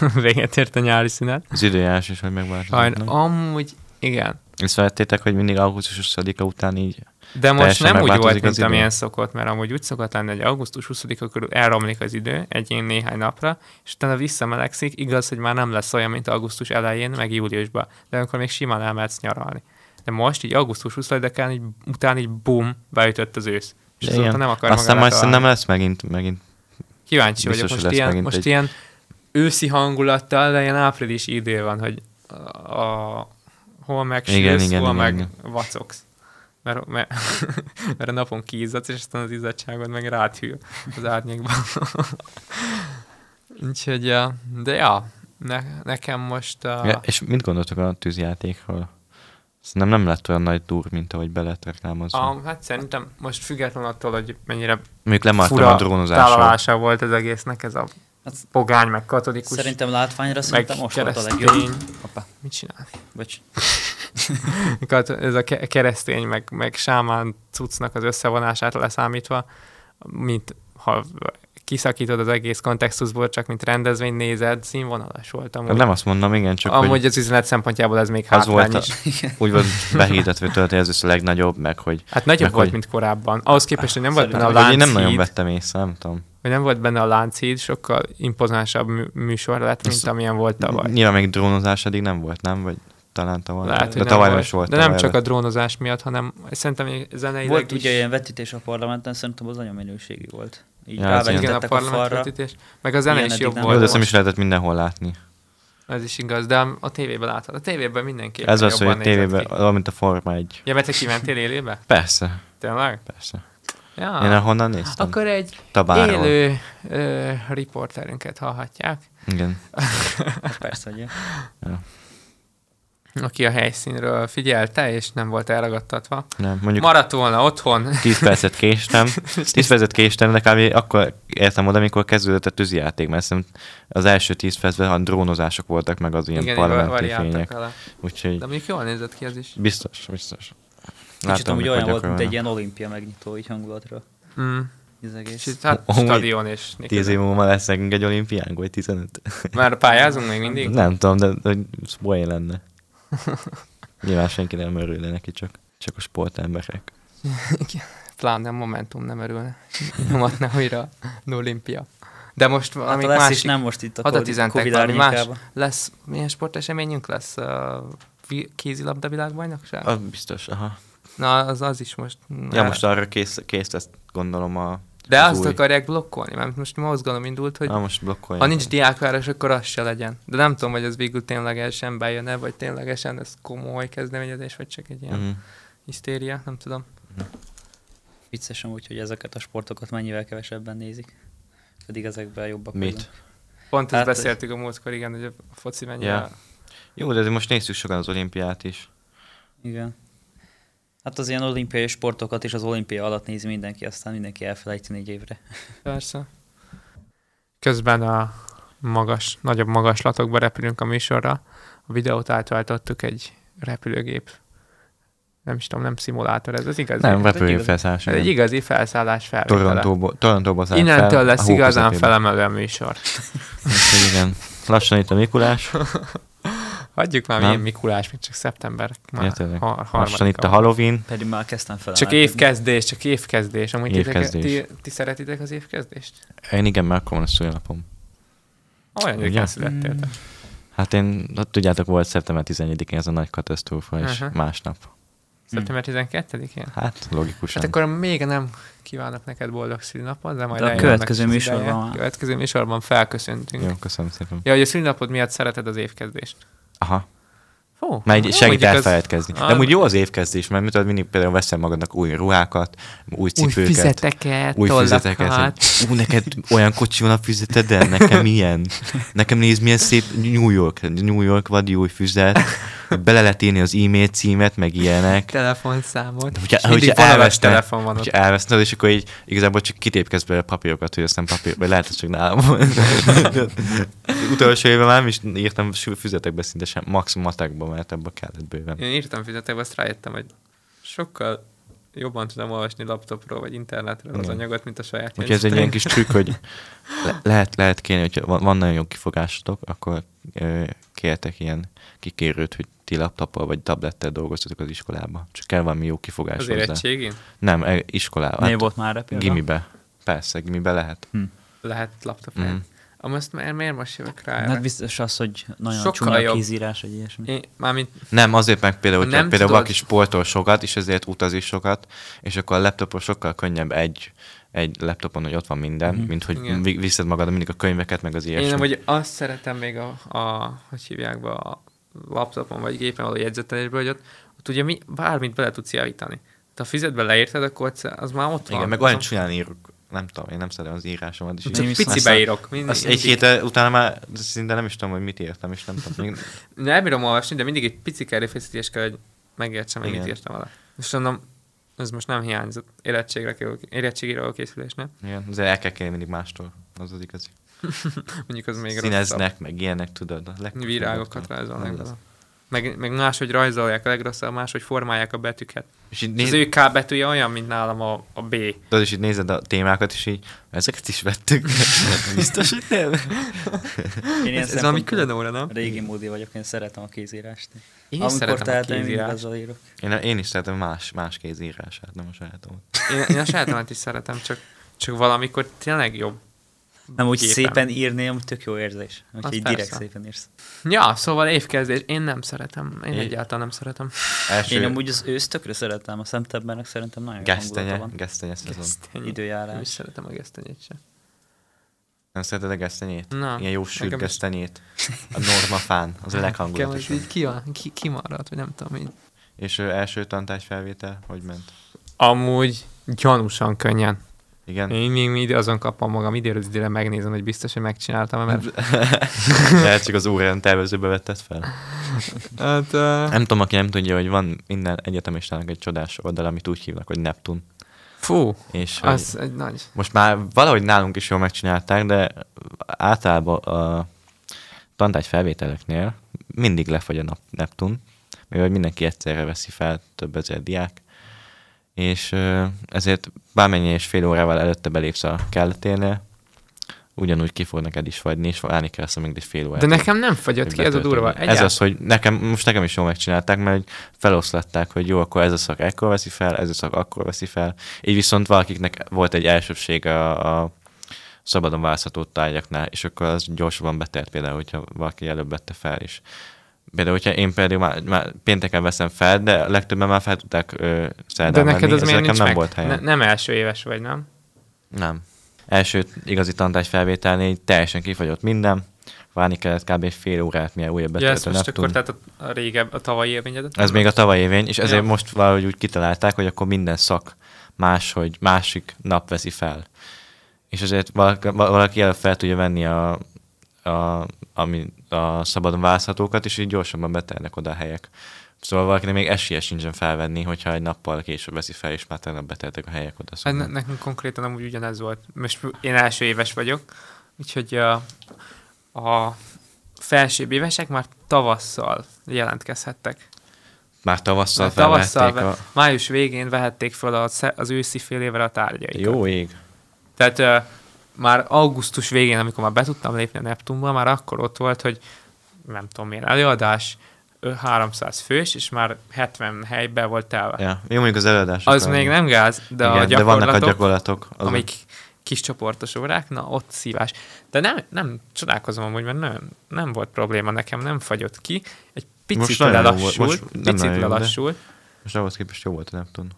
Véget ért a nyári szünet.
Az időjárás is, hogy megváltozott.
Sajn,
nem?
amúgy igen,
Ezt vettétek, hogy mindig augusztus 20-a után így
De most
Teljesen
nem úgy
megváltozik
volt,
az
mint
idő.
amilyen szokott, mert amúgy úgy szokott lenni, hogy augusztus 20-a körül elromlik az idő egy ilyen néhány napra, és utána visszamelegszik, igaz, hogy már nem lesz olyan, mint augusztus elején, meg júliusban, de akkor még simán elmehetsz nyaralni. De most így augusztus 20-án így, után így bum, beütött az ősz. És
De
azóta
igen.
nem akar
Aztán
magára
majd szerintem
találni.
lesz megint, megint.
Kíváncsi
biztos,
vagyok, most,
hogy lesz
ilyen,
megint
most
egy-
ilyen őszi hangulattal, de ilyen áprilisi idő van, hogy a, a, hol meg
Igen,
sülsz,
igen,
hol
igen,
meg
igen.
vacogsz. Mert, mert, mert a napon kiizzadsz, és aztán az izzadságod meg rád hűl az árnyékban. Úgyhogy, ja, de ja, ne, nekem most... uh, A,
Ja, és mit gondoltok a tűzjátékról? Szerintem nem lett olyan nagy dur, mint ahogy be lett reklámozva.
a, hát szerintem most független attól, hogy mennyire
Mondjuk lemartam a
fura
drónozásról.
tálalása volt az egésznek ez a
Hát
pogány, meg katolikus.
szerintem látványra
meg
szerintem most volt a legjobb.
keresztény.
Hoppá,
Mit csinál?
bocs.
Kat- ez a ke- keresztény, meg, meg sámán cuccnak az összevonását leszámítva, mint ha kiszakítod az egész kontextusból, csak mint rendezvény nézed, színvonalas volt amúgy.
Hát Nem azt mondom, igen, csak
amúgy
hogy
az üzlet szempontjából ez még
az
hátrány
volt, a,
is.
úgy volt behirdetve tőled, hogy ez lesz a legnagyobb, meg hogy
Hát nagyobb
meg
volt,
hogy-
mint korábban. Ahhoz képest, hogy nem volt benne a
Na, hogy én nem nagyon
Lánchíd,
vettem észre, nem tudom.
hogy nem volt benne a Lánchíd, sokkal impozánsabb mű- műsor lett, mint amilyen volt tavaly.
Nyilván még drónozás eddig nem volt, nem? Vagy talán tavaly.
Lehet,
de
hogy nem
tavaly
volt.
is volt.
De nem
tavaly
csak a
lett.
drónozás miatt, hanem szerintem zeneileg
Volt
is...
ugye ilyen vetítés a parlamenten, szerintem az nagyon minőségi volt. Így
Ja,
ja,
az ilyen.
igen, a
rávetítettek a, a falra.
parlamentvetítés. Meg a zene
Ilyen
is
eddig
jobb
nem
volt.
Jó, de azt
most.
nem is lehetett mindenhol látni.
Ez is igaz, de a tévében látod. A tévében mindenképpen
Ez az, hogy
jobban
a
nézett
tévében,
ki.
valamint a Forma egy.
Ja, mert te kimentél élőbe?
Persze,
Tényleg?
persze.
Ja.
Én ahonnan néztem.
Akkor egy
Tabáról.
élő ö, riporterünket hallhatják,
Igen.
Hát Persze, hogy
aki a helyszínről figyelte, és nem volt elragadtatva.
Nem, mondjuk
Maradt volna otthon.
10 percet késtem, 10 percet késtem, de kb. akkor értem oda, amikor kezdődött a tűzijáték, mert szerintem az első 10 percben a drónozások voltak, meg az ilyen
Igen,
parlamenti
variáltak
fények.
vele. De
Úgyhogy
mondjuk jól nézett ki az is.
biztos, biztos.
Kicsit amúgy
mikor
olyan volt, mint
gyakorolnak.
egy ilyen olimpia megnyitó így hangulatra.
Mm.
Ez egész.
Kicsit, hát
Amúgy
stadion és
Tíz év múlva lesz nekünk egy olimpiánk, vagy 15?
Már pályázunk még mindig?
Nem tudom, de hogy ez poén lenne. Nyilván senki nem örülne neki, csak, csak a sportemberek.
Pláne a Momentum nem örülne. Nyomatna újra az olimpia. De most
Hát
valami
a lesz
másik...
is nem most itt a
Oda
Covid-
tizentek
Covid
valami más.
árnyékában.
Lesz, milyen sporteseményünk lesz? A vi- kézilabda világbajnokság?
Az biztos, aha.
Na, az, az is most.
Ja, most arra kész, kész ezt gondolom a...
De
az
azt
új.
akarják blokkolni, mert most mozgalom indult, hogy
Na, most blokkolja.
ha nincs diákváros, akkor az se legyen. De nem tudom, hogy ez végül ténylegesen bejön-e, vagy ténylegesen ez komoly kezdeményezés, vagy csak egy ilyen
Mhm.
hisztéria, nem tudom.
Vicces amúgy, hogy ezeket a sportokat mennyivel kevesebben nézik. Pedig ezekben jobbak
Mit?
vagyunk.
Pont ezt
Hát,
beszéltük a múltkor, igen, hogy a foci mennyire...
Ja. Jó, de azért most nézzük sokan az olimpiát is.
Igen. Hát az ilyen olimpiai sportokat is az olimpia alatt nézi mindenki, aztán mindenki elfelejti négy évre.
Persze. Közben a magas, nagyobb magaslatokba repülünk a műsorra. A videót átváltottuk egy repülőgép. Nem is tudom, nem szimulátor, ez az igazi.
Nem,
egy
repülő
igazi-
felszállás.
Ez Hát egy
igen.
igazi felszállás felvétele.
Torontóból, Torontóból szállt
Innentől
fel,
lesz
a hó
igazán
közepébe.
felemelő a műsor.
Úgyhogy Igen. Lassan itt a Mikulás,
Hagyjuk már,
Nem?
milyen Mikulás, még csak szeptember már
Ja, tényleg.
har- harmadika
lassan itt a
van.
Halloween.
Pedig már kezdtem fel.
Csak évkezdés, csak évkezdés. Amúgy évkezdés.
Évkezdés.
Ti, ti, szeretitek az évkezdést?
Én igen, mert akkor van a szülnapom.
Olyan
Ugye?
gyöken születtél. te.
Hát én, hát tudjátok, volt szeptember 11-én ez a nagy katasztrófa, és
Aha.
másnap.
Szeptember 12-én?
Hát, logikusan.
Hát akkor még nem kívánok neked boldog szülinapot, de majd
De a
eljön annak
következő
is az
műsorban
ideje.
már.
következő műsorban felköszöntünk. Jó.
Jó, köszönöm szépen.
Ja, hogy a szülinapod miatt szereted az évkezdést.
Aha.
Ó,
Mert így segít
mondjuk az-
elfeledkezni.
Ah,
De úgy jó az évkezdés, mert mit tudod, mindig például veszel magadnak új ruhákat, új
új
cipőket.
füzeteket,
új füzeteket.
tollakat.
hogy Ú, neked olyan kocsi van a füzeted, de nekem ilyen. Nekem nézd, milyen szép New York, New York vadi új füzet. Bele lehet írni az e-mail címet, meg ilyenek.
telefonszámot.
Hogyha,
és mindig
hogyha
falves
elveszne-
telefon van ott.
hogyha elveszted, és akkor így igazából csak kitépkezd belőle papírokat, hogy aztán papír, vagy lehet, hogy csak nálam van. Utolsó évben már nem is írtam füzetekbe szinte sem, max matekba, mert ebbe kellett bőven.
Én írtam füzetekbe, azt rájöttem, hogy sokkal jobban tudom olvasni laptopról vagy internetről az
Igen.
anyagot, mint a saját
Úgyhogy ez egy ilyen kis trükk, hogy le- lehet, lehet kéne, hogyha van, van nagyon jó kifogásotok, akkor ö, kértek ilyen kikérőt, hogy ti laptoppal vagy tablettel dolgoztatok az iskolába. Csak kell valami jó kifogás
Az
hozzá.
érettségén?
Nem, e, iskolában.
Hát, volt már erre példa? Hm.
gimibe. Persze, gimibe lehet.
Lehet laptop.
Mhm.
Mm. Amúgy azt miért, miért most jövök rá? erre?
Hát biztos az, hogy nagyon
Sokkal
Sokkal csúnya
jobb.
a kézírás, vagy ilyesmi.
Én, mármint
Nem, azért meg például, hogyha
Nem
például
tudod.
valaki sportol sokat, és ezért utazik sokat, és akkor a laptopon sokkal könnyebb egy, egy laptopon, hogy ott van minden, mm. mint hogy
Igen.
vi- viszed magad mindig a könyveket, meg az ilyesmit.
Én amúgy azt szeretem még a, a hogy hívják be, a laptopon vagy gépen való jegyzetelésből, hogy ott, ott ugye mi, bármit bele tudsz javítani. Ha fizetbe leírtad, akkor ott- az már ott van.
Igen, meg olyan csúnyán írok. Nem tudom, én nem szeretem az írásomat. És
Csak
Én
így-
viszont-
pici beírok. Mindig,
Azt egy héttel utána már szinte nem is tudom, hogy mit írtam, és nem tudom. Még...
nem bírom olvasni, de mindig egy pici erőfeszítés kell, hogy megértsem, hogy mit
Igen.
írtam alá. És mondom, ez most nem hiányzott érettségre kell, érettségére készülésnek.
Igen, azért el kell kérni mindig mástól. Az az igazi.
Mondjuk az még rosszabb.
Színeznek, meg ilyenek, tudod. a legtöbb
Virágokat
feladat.
rajzolnak.
Nem lesz.
bele. Meg, meg máshogy rajzolják a legrosszabb, máshogy formálják a betűket.
És így
Nézd. Az
néz...
ő K betűje olyan, mint nálam a, a B.
tudod, és így nézed a témákat, és így ezeket is vettük. Biztos, hogy nem.
Én ilyen
Ez, ez valami
szempontból
külön óra, nem?
Régi módi vagyok, én szeretem a kézírást.
Én
Amikor
szeretem a
tehát én mindig
kézírást.
azzal írok.
Én, én is szeretem más, más kéz írását, nem a sajátomat.
Én, én a sajátomat is szeretem, csak, csak valamikor tényleg jobb.
Nem úgy
Gépen.
szépen írni, amúgy tök jó érzés. Úgyhogy így direkt
persze.
szépen írsz.
Ja, szóval évkezdés. Én nem szeretem. Én
É-
egyáltalán nem szeretem.
Első
Én amúgy az őszt tökre szeretem, a szemtebbernek szerintem nagyon jó hangulata
gesztenye,
van.
gesztenye szezon.
Nem is
Időjárás.
szeretem a gesztenyét sem.
Nem szereted a gesztenyét?
Na,
Ilyen jó sűrű
nekem is.
gesztenyét. A norma fán, az a
Nekem az
leghangulatosabb.
így ki, ki, kimarad, vagy nem tudom így.
És ö, első tantárgy felvétel, hogy ment?
Amúgy gyanúsan könnyen.
Igen.
Én még mindig azon kapom magam időről időre megnézem, hogy biztos, hogy megcsináltam, mert
Lehet csak az órán tervezőbe vetted fel.
hát, uh,
Nem tudom, aki nem tudja, hogy van minden egyetemistának egy csodás oldal, amit úgy hívnak, hogy Neptun.
fú,
És hogy
az egy nagy...
most már valahogy nálunk is jól megcsinálták, de általában a tantárgy felvételeknél mindig lefagy a nap- Neptun, mivel mindenki egyszerre veszi fel, több ezer diák, és ö, ezért bármennyi és fél órával előtte belépsz a kelleténél, ugyanúgy ki fog neked is fagyni, és állni kell azt még egy fél órát.
De nekem nem fagyott ki, ez a durva.
Egyáltalán. Ez az, hogy nekem, most nekem is jól megcsinálták, mert hogy feloszlatták, hogy jó, akkor ez a szak ekkor veszi fel, ez a szak akkor veszi fel. Így viszont valakiknek volt egy elsőbség a, a szabadon választható tárgyaknál, és akkor az gyorsabban betelt például, hogyha valaki előbb vette fel is. Például, hogyha én például már, már pénteken veszem fel, de legtöbben már fel tudták ö, szerdán
De neked
venni,
az
ez
miért
nekem
nincs
nem
meg?
volt helyen.
Ne, nem első éves vagy, nem?
Nem. Első igazi tantárgy felvételnél így teljesen kifagyott minden, várni kellett kb. egy fél órát, mire újabb
Ja, ez
betöltő
most
Neptun.
akkor tehát a, a régebb, a tavalyi élményedet?
Ez még a tavaly évén, és ezért
Ja.
ja. most valahogy úgy kitalálták, hogy akkor minden szak más, hogy másik nap veszi fel. És ezért valaki, valaki előbb fel tudja venni a, a, ami, a szabadon választhatókat, és így gyorsabban betelnek oda a helyek. Szóval valakinek még esélye sincsen felvenni, hogyha egy nappal később veszi fel, és már tegnap beteltek a helyek oda.
Hát
Szóval.
ne, nekünk konkrétan amúgy ugyanez volt. Most én első éves vagyok, úgyhogy a, a felsőbb évesek már tavasszal jelentkezhettek.
Már tavasszal
Már tavasszal,
felvették
ve- május végén vehették fel a, sze- az őszi fél évre a tárgyaikat.
Jó ég.
Tehát ö, már augusztus végén, amikor már be tudtam lépni a Neptunba, már akkor ott volt, hogy nem tudom milyen előadás, ö, 300 fős, és már 70 helyben volt telve.
Ja. Jó, mondjuk az előadás.
Az még nem gáz, de Igen, a
de vannak a
gyakorlatok,
gyakorlatok. azok-
amik kis csoportos órák, na ott szívás. De nem, nem csodálkozom amúgy, mert nem, nem volt probléma nekem, nem fagyott ki. Egy picit
Most nagyon jó volt, most
lelassult,
nem
picit
nagyon jó, de-
lelassult,
Most ahhoz képest jó volt a Neptun.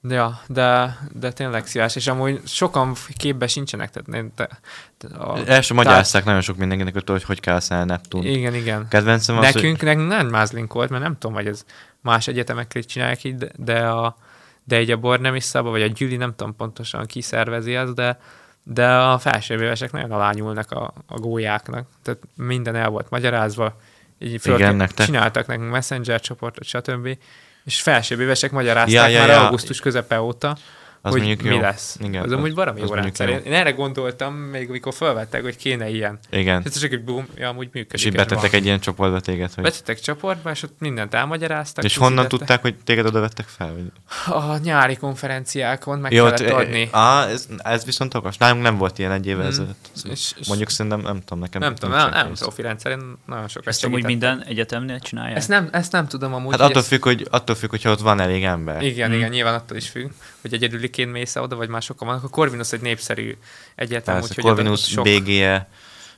de... Ja, de, de tényleg szívás, és amúgy sokan képbe sincsenek. Tehát, én- te, te, a,
El sem magyarázták nagyon sok mindenkinek, hogy hogy kell használni a Neptun.
Igen, igen.
Kedvencem az, hogy
Nekünk nekünk nem mázlink volt, mert nem tudom, hogy ez más egyetemek is csinálják így, de- de, a, de egy a bor nem is szabad, vagy a gyüli, nem tudom pontosan ki szervezi ezt, de, de a felsőbb évesek nagyon alányulnak a, a gólyáknak. Tehát minden el volt magyarázva, így föl,
Igen, nektek.
csináltak nekünk messenger csoportot, stb. És felsőbb évesek magyarázták
Ja,
ja,
ja,
már ja,
ja.
augusztus közepe óta,
Az
hogy
mondjuk
mi
jó.
lesz.
Igen,
az
az-
amúgy valami
az
jó
mondjuk
rendszer.
jó.
Én, én erre gondoltam, még amikor felvettek, hogy kéne ilyen.
igen.
És ez csak egy boom, ja, amúgy működik.
És
ez
így
van.
betettek egy ilyen csoportba téged, hogy...
Betettek csoportba, és ott mindent elmagyaráztak.
És honnan
közítettek.
tudták, hogy téged oda vettek fel? Vagy...
A nyári konferenciákon meg
Jó,
Hát
hát, eh,
kellett
te-
adni.
Á, ez, ez viszont okos. Nálunk nem volt ilyen egy évvel
Mm.
ezelőtt.
És- és-
Mondjuk szerintem, nem tudom, nekem... Hát
nem tudom,
nincsen
nem, nem
kész.
profi rendszer, én nagyon sokat
Ezt amúgy
segítettem.
minden egyetemnél csinálják?
Ezt nem, ezt nem tudom amúgy.
Hát
hogy
attól Hmm.
ezt-
függ, hogy, attól függ, hogyha ott van elég ember.
Igen, igen, nyilván attól is függ, hogy egyedüliként mész oda, vagy már sokan vannak. A Corvinus egy népszerű egyetem,
Persze,
úgyhogy
Corvinus,
oda sok...
BGE,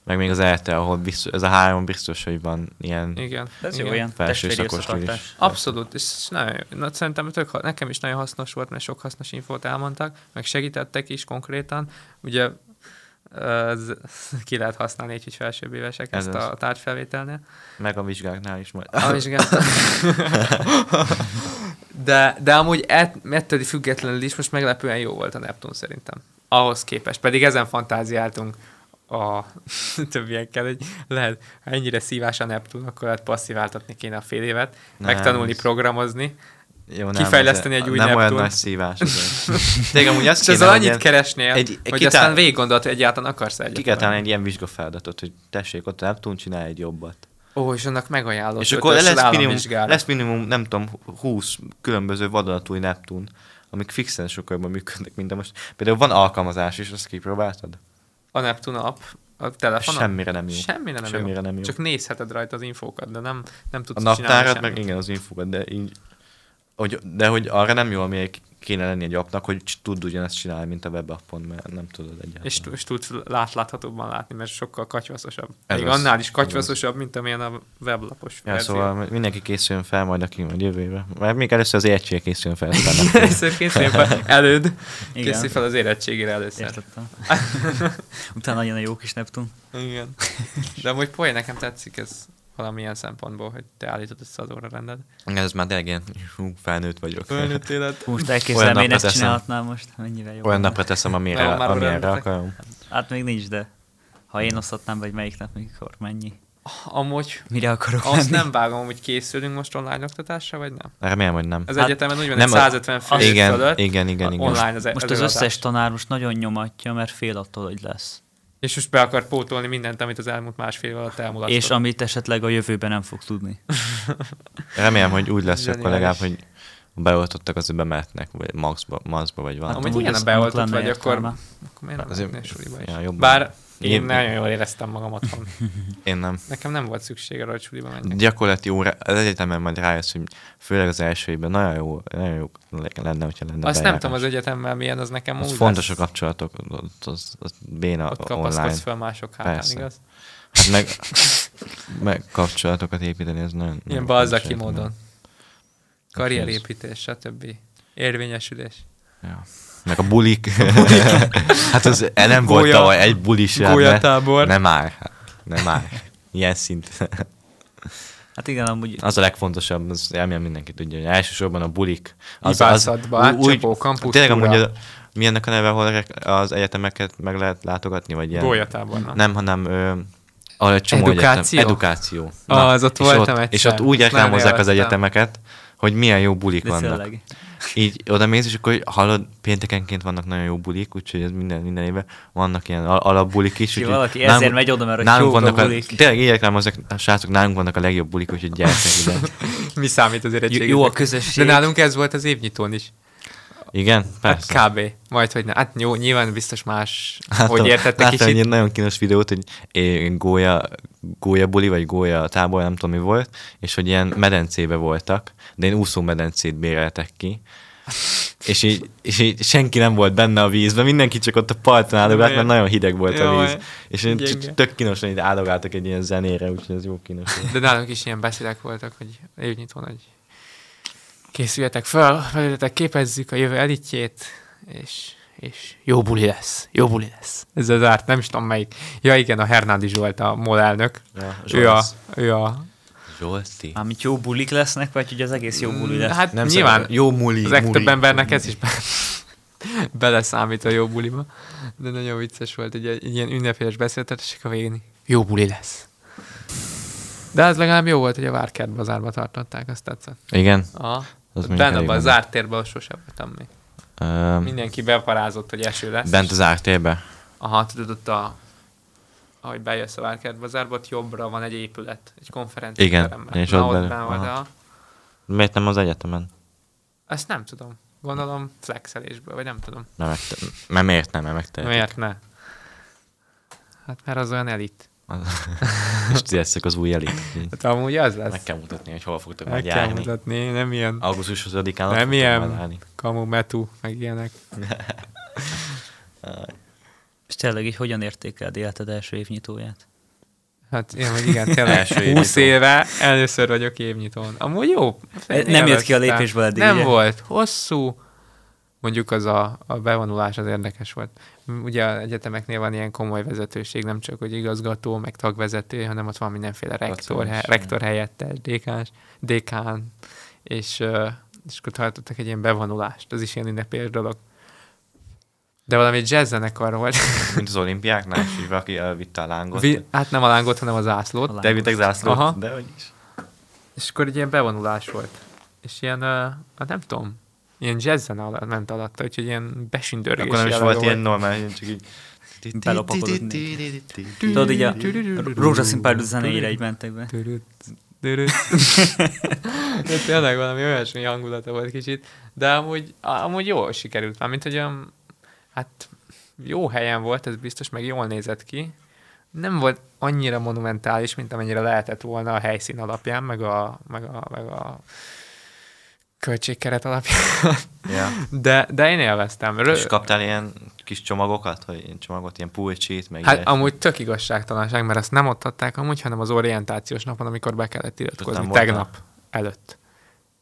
meg még az ELTE, ahol biztos, ez a három biztos, hogy van ilyen...
Igen.
De ez
igen.
jó, ilyen
Felső
testvéri
szakostól is.
összetartás.
Abszolút, és nagyon, jó. na, szerintem tök, ha- nekem is nagyon hasznos volt, mert sok hasznos infót elmondtak, meg segítettek is konkrétan. Ugye ez, ki lehet használni egy felsőbb évesek
Ez
ezt
az.
a tárgyfelvételnél.
Meg a vizsgáknál is majd.
A vizsgát. de, de amúgy ett, ettől függetlenül is most meglepően jó volt a Neptun szerintem. Ahhoz képest. Pedig ezen fantáziáltunk a többiekkel, hogy lehet, ha ennyire szívás a Neptun, akkor lehet passziváltatni kéne a fél évet,
Nem,
megtanulni
ez-
programozni,
Jó, nem,
Kifejleszteni
ez-
egy új
Nem olyan
Neptun.
nagy szívás. Tényleg amúgy azt
és ezzel
kéne, hogy
annyit
ilyen-
keresnél,
egy-
egy,
egy
hogy
kitá-
aztán végig gondolt, hogy egyáltalán akarsz egyet.
Ki kell találni egy ilyen vizsgafeladatot, hogy tessék, ott a Neptun csinál egy jobbat.
Ó, és annak megajánlott.
és akkor
ötös
lesz minimum,
államvizsgára.
lesz minimum, nem tudom, 20 különböző vadonatúj Neptun, amik fixen sokkal jobban működnek, mint a most. Például van alkalmazás is, azt kipróbáltad?
a Neptun app, a telefonon.
Semmire nem jó.
Semmire nem,
Semmire
jó.
nem jó.
Csak nézheted rajta az infókat, de nem, nem
A
tudsz
naptárat,
semmit.
meg igen, az infókat, de így... Hogy, de hogy arra nem jó, ami kéne lenni egy appnak, hogy c- tud ugyanezt csinálni, mint a webappon, mert nem tudod egyáltalán.
És, t- és tudsz látláthatóbban látni, mert sokkal katyvaszosabb.
Ez
Még
az.
annál is katyvaszosabb, mint amilyen a weblapos
Ja,
verzió.
szóval mindenki készüljön fel majd, aki majd jövő évre. Mert még először az értség készüljön fel. aztán Neptun.
Először készülj fel előd,
Igen.
készülj fel az érettségére először.
Értettem. Utána jön a jó kis Neptun.
Igen. De amúgy poén, nekem tetszik ez. valamilyen szempontból, hogy te állítod össze az óra rended.
Ez már tényleg ilyen, hú, felnőtt vagyok.
Fölnőtt élet.
Most
Olyan
elképzelem,
napra
én ezt
teszem.
csinálhatnám most, mennyivel jobb.
Olyan
lenne.
napra teszem, amire,
Nagyon már
amire
örömletek.
akarom.
Hát még nincs, de ha én osztatnám, vagy melyik nap, mikor, mennyi,
Amúgy
mire akarok
azt
menni.
nem vágom, hogy készülünk most online oktatásra, vagy nem?
Remélem, hogy nem.
Az
Hát,
egyetemen úgy van,
nem
hogy
a-
150 fő
igen,
fölött
igen, igen, igen.
online az
Most
ez
az
előadás.
összes tanár most nagyon nyomatja, mert fél attól, hogy lesz.
És most be akar pótolni mindent, amit az elmúlt másfél év alatt elmulasztott.
És amit esetleg a jövőben nem fog tudni.
Hát, Remélem, hogy úgy lesz, hogy akkor legalább,
Zseniális.
hogy a beoltottak az bemehetnek, vagy maxba, maxba vagy valami.
Amúgy
Hát, amúgy
igen,
ez
ha beoltott
annak
vagy,
lenne
akkor,
értelme.
akkor miért nem
Hát, Azért-
mennél suliba is?
ja, jobban.
Bár én,
Én-
nagyon jól éreztem magam otthon.
Én nem.
Nekem nem volt szükség arra, hogy suliba menjek.
Gyakorlati óra, az egyetemen majd rájössz, hogy főleg az első évben nagyon jó, nagyon jó lenne, hogyha lenne
Azt nem
bejárás.
tudom, az egyetemmel milyen, az nekem
az
úgy
fontos a
lesz.
kapcsolatok, az, az, az béna
Ott
online.
kapaszkodsz fel mások hátán,
Persze.
igaz?
Hát meg, meg kapcsolatokat építeni, ez nagyon...
Ilyen
nagyon
balzaki
fontos
módon.
egyetemen.
Karrierépítés, stb. Érvényesülés.
Ja. Meg a bulik. hát az e, nem volt
Gólya-
tavaly egy bulis
gólyatábor.
Nem már. hát, Nem már. Ilyen szint.
Hát igen, amúgy
Az a legfontosabb, az elmélem mindenki tudja, hogy elsősorban a bulik. Az,
Hibászatba, átcsapó, kampusz
Tényleg
túra.
amúgy a, mi ennek a neve, ahol rek- az egyetemeket meg lehet látogatni, vagy ilyen?
Gólyatábornak.
Nem, hanem ö, a csomó
Edukáció?
Egyetem, edukáció.
az ott
és
voltam
ott, És
egyszer.
ott úgy
Nagyon
reklámozzák az
élveztem.
egyetemeket, hogy milyen jó bulik
De
vannak.
tényleg.
Így oda mész, és akkor hallod, péntekenként vannak nagyon jó bulik, úgyhogy ez minden, minden évben vannak ilyen al- alapbulik is.
Ki
úgyhogy
valaki ezért megy oda, mert hogy
nálunk
jók a
vannak a,
bulik.
Tényleg így reklámozzák, a srácok, nálunk vannak a legjobb bulik, úgyhogy gyertek ide.
Mi számít az érettségiznek?
Jó- jó a közösség.
De nálunk ez volt az évnyitón is.
Igen,
Hát
persze. Hát
kb. Majd, hogy ne. Hát jó, nyilván biztos más, hogy értettek
láttam egy
kicsit.
ilyen nagyon kínos videót, hogy é, gólya, gólya buli, vagy gólya tábor, nem tudom mi volt, és hogy ilyen medencébe voltak, de én úszó medencét béreltek ki. És így, és így senki nem volt benne a vízben, mindenki csak ott a parton áldogált, mert nagyon hideg volt a
Jaj,
víz. És én
gyenge.
csak tök kínosan így áldogáltak egy ilyen zenére, úgyhogy ez jó kínos. volt.
De nálunk is ilyen beszédek voltak, hogy évnyitón, hogy készüljetek fel, felületek képezzük a jövő elitjét, és, és jó buli lesz, jó buli lesz. Ez az árt, nem is tudom melyik. Ja igen, a Hernádi Zsolt a MOL elnök.
Ja,
ő a,
Zsolc.
ő a
Zsolti.
amit jó bulik lesznek, vagy hogy az egész jó buli lesz.
Hát
Nem
nyilván
szerint- jó muli,
az legtöbb
muli.
embernek ez is be- beleszámít a jó buliba. De nagyon vicces volt egy, egy ilyen ünnepélyes beszéltetések a végén. Jó buli lesz. De az legalább jó volt, hogy a Várkert bazárba tartották, azt tetszett.
Igen.
Aha.
Az mondjuk
Benne
elég
abban a
menő.
zárt térben ahol sose voltam
Mhm.
még.
Öm,
Mindenki beparázott, hogy eső lesz.
Bent az ártérbe.
Aha, tudod, ott a ahogy bejössz a Várkert bazárba, ott jobbra van egy épület, egy konferencia
Igen,
teremben.
és
Na,
ott
ott
belül.
benn volt
Aha.
a-
Miért nem az egyetemen?
Ezt nem tudom. Gondolom flexelésből, vagy nem tudom.
Mert, megte- mert miért nem, mert megtehetik.
Miért ne? Hát mert az olyan elit.
És ti leszek az új elit.
Hát amúgy az lesz.
Meg kell mutatni, hogy hol fogtok
Meg
majd
kell
járni.
mutatni, nem ilyen
Augusztus 20-án ott
Nem
fogtok
ilyen.
majd állni.
kamu metu, meg ilyenek.
És tényleg így hogyan értékeled életed első évnyitóját?
Hát én meg igen, tényleg
Első
20
évnyitó.
éve először vagyok évnyitón. Amúgy jó.
Nem jött ki a
Élveztem.
lépésből eddig,
Nem
ugye?
volt. Hosszú. Mondjuk az a, a bevonulás az érdekes volt. M- Ugye az egyetemeknél van ilyen komoly vezetőség, nem csak hogy igazgató, meg tagvezető, hanem ott van mindenféle rektor,
Docenes.
he, rektor helyettes, dékás, dékán, és, ö, és akkor tartottak egy ilyen bevonulást. Az is ilyen ünnepélyes dolog. De valami jazz zenekar volt.
Mint az olimpiáknál, és így valaki elvitte a lángot.
Vi, hát nem a lángot, hanem az zászlót.
A
De vittek zászlót,
Aha.
de hogy is.
És akkor egy ilyen bevonulás volt. És ilyen, uh, hát nem tudom, ilyen jazzen alatt ment alatta, úgyhogy ilyen besündörgés.
Akkor nem is
jellege
volt ilyen normál, csak így...
Belopakodott Tudod, így a rózsaszín pár zenére így mentek be.
Dürüt, dürüt. De tényleg valami olyasmi hangulata volt kicsit, de amúgy, amúgy jól sikerült. Mármint, hogy olyan, hát jó helyen volt, ez biztos, meg jól nézett ki. Nem volt annyira monumentális, mint amennyire lehetett volna a helyszín alapján, meg a, meg a, meg a költségkeret alapján.
Ja.
De, de én élveztem. Rö-
És kaptál ilyen kis csomagokat, hogy ilyen csomagot, ilyen pulcsit, meg
Hát
ilyesmi?
amúgy tök igazságtalanság, mert ezt nem ott adták amúgy, hanem az orientációs napon, amikor be kellett iratkozni,
nem voltál?
tegnap előtt.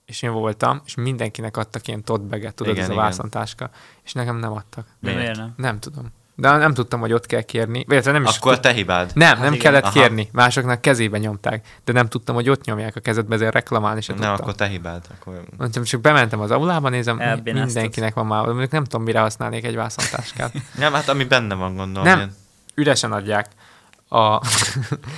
És én voltam, és mindenkinek adtak ilyen totbeget, tudod,
Igen,
igen, ez a
igen.
vászontáska, és nekem nem adtak.
De
Miért?
miért nem?
Nem tudom. de nem tudtam, hogy ott kell kérni. Illetve nem is
Akkor te hibád.
Nem, nem
Hát igen.
kellett
Aha.
kérni. Másoknak kezébe nyomták. De nem tudtam, hogy ott nyomják a kezedbe, ezért reklamálni se
Nem,
tudtam.
akkor te hibád. Akkor...
Mondtam, csak bementem az aulába, nézem, mi-
Elbénáztad.
mindenkinek van már, mondjuk nem tudom, mire használnék egy vászontáskát.
Nem, hát ami benne van, gondolom.
nem,
ilyen.
üresen adják. A...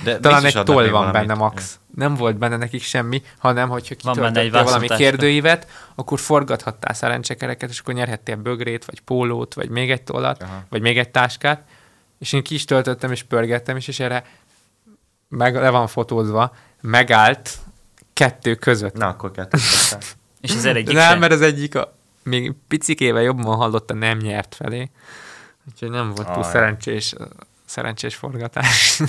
De
Talán
biztos
egy
adnak
toll
még
van
valamit.
benne max. Nem volt benne nekik semmi, hanem hogyha
Van benne egy
kitöltöttél valami
vászontáska.
kérdőívet, akkor forgathattál szerencsekereket, és akkor nyerhettél bögrét, vagy pólót, vagy még egy tollat,
Aha.
vagy még egy táskát. És én ki is töltöttem, és pörgettem is, és erre meg, le van fotózva, megállt kettő között.
Na, akkor kettőt kaptál.
És az egyik
nem,
sem.
mert az egyik a, még picikével jobban hallotta, nem nyert felé. Úgyhogy nem volt túl
Aj.
szerencsés, szerencsés forgatás.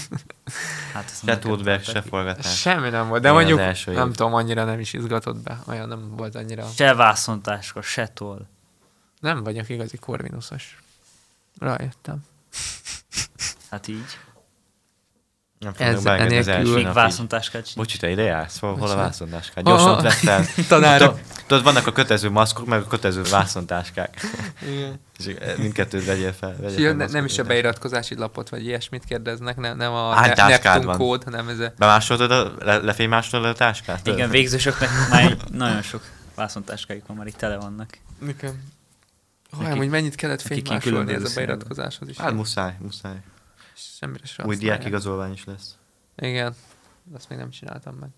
Hát azt
Se
mondjuk,
tudberg, se forgatás.
Semmi nem volt, de
Igen, az
mondjuk
első év.
nem tudom, annyira nem is izgatott be, olyan nem volt annyira.
Se vászontáska, se toll.
Nem vagyok igazi korvinuszos. Rájöttem.
Hát így.
Nem fognak
Ez-
beengedni az
enélkül-
első
Még
nap így.
vászontáskát csinál.
Bocsi, te ide jársz? Hol, hol a vászontáskát?
Aha.
Gyorsan ott vettem.
Tanárok.
Tudod- Tudod, vannak a kötező maszkok, meg a kötező vászontáskák.
Igen.
És eh, mindkettőt vegyél fel. Vegyél
És
fel
jön, ne, nem
maszkot,
is a
vegyél.
beiratkozási lapot, vagy ilyesmit kérdeznek, nem, nem a
Hány
ne,
táskád
Neptun
van?
kód, hanem ez a...
Bemásoltad, a, le, lefénymásoltad a táskát?
Igen, végzősöknek már egy- nagyon sok vászontáskájuk van, már itt tele vannak.
Nekem. Haj,
Nekik-
amúgy mennyit kellett
nekik ilyen
fénymásolni ez
különböző
a
színben.
beiratkozáshoz is.
Hát muszáj, muszáj.
Semmire sem
Új
használják.
diákigazolvány is lesz.
Igen, azt még nem csináltam meg.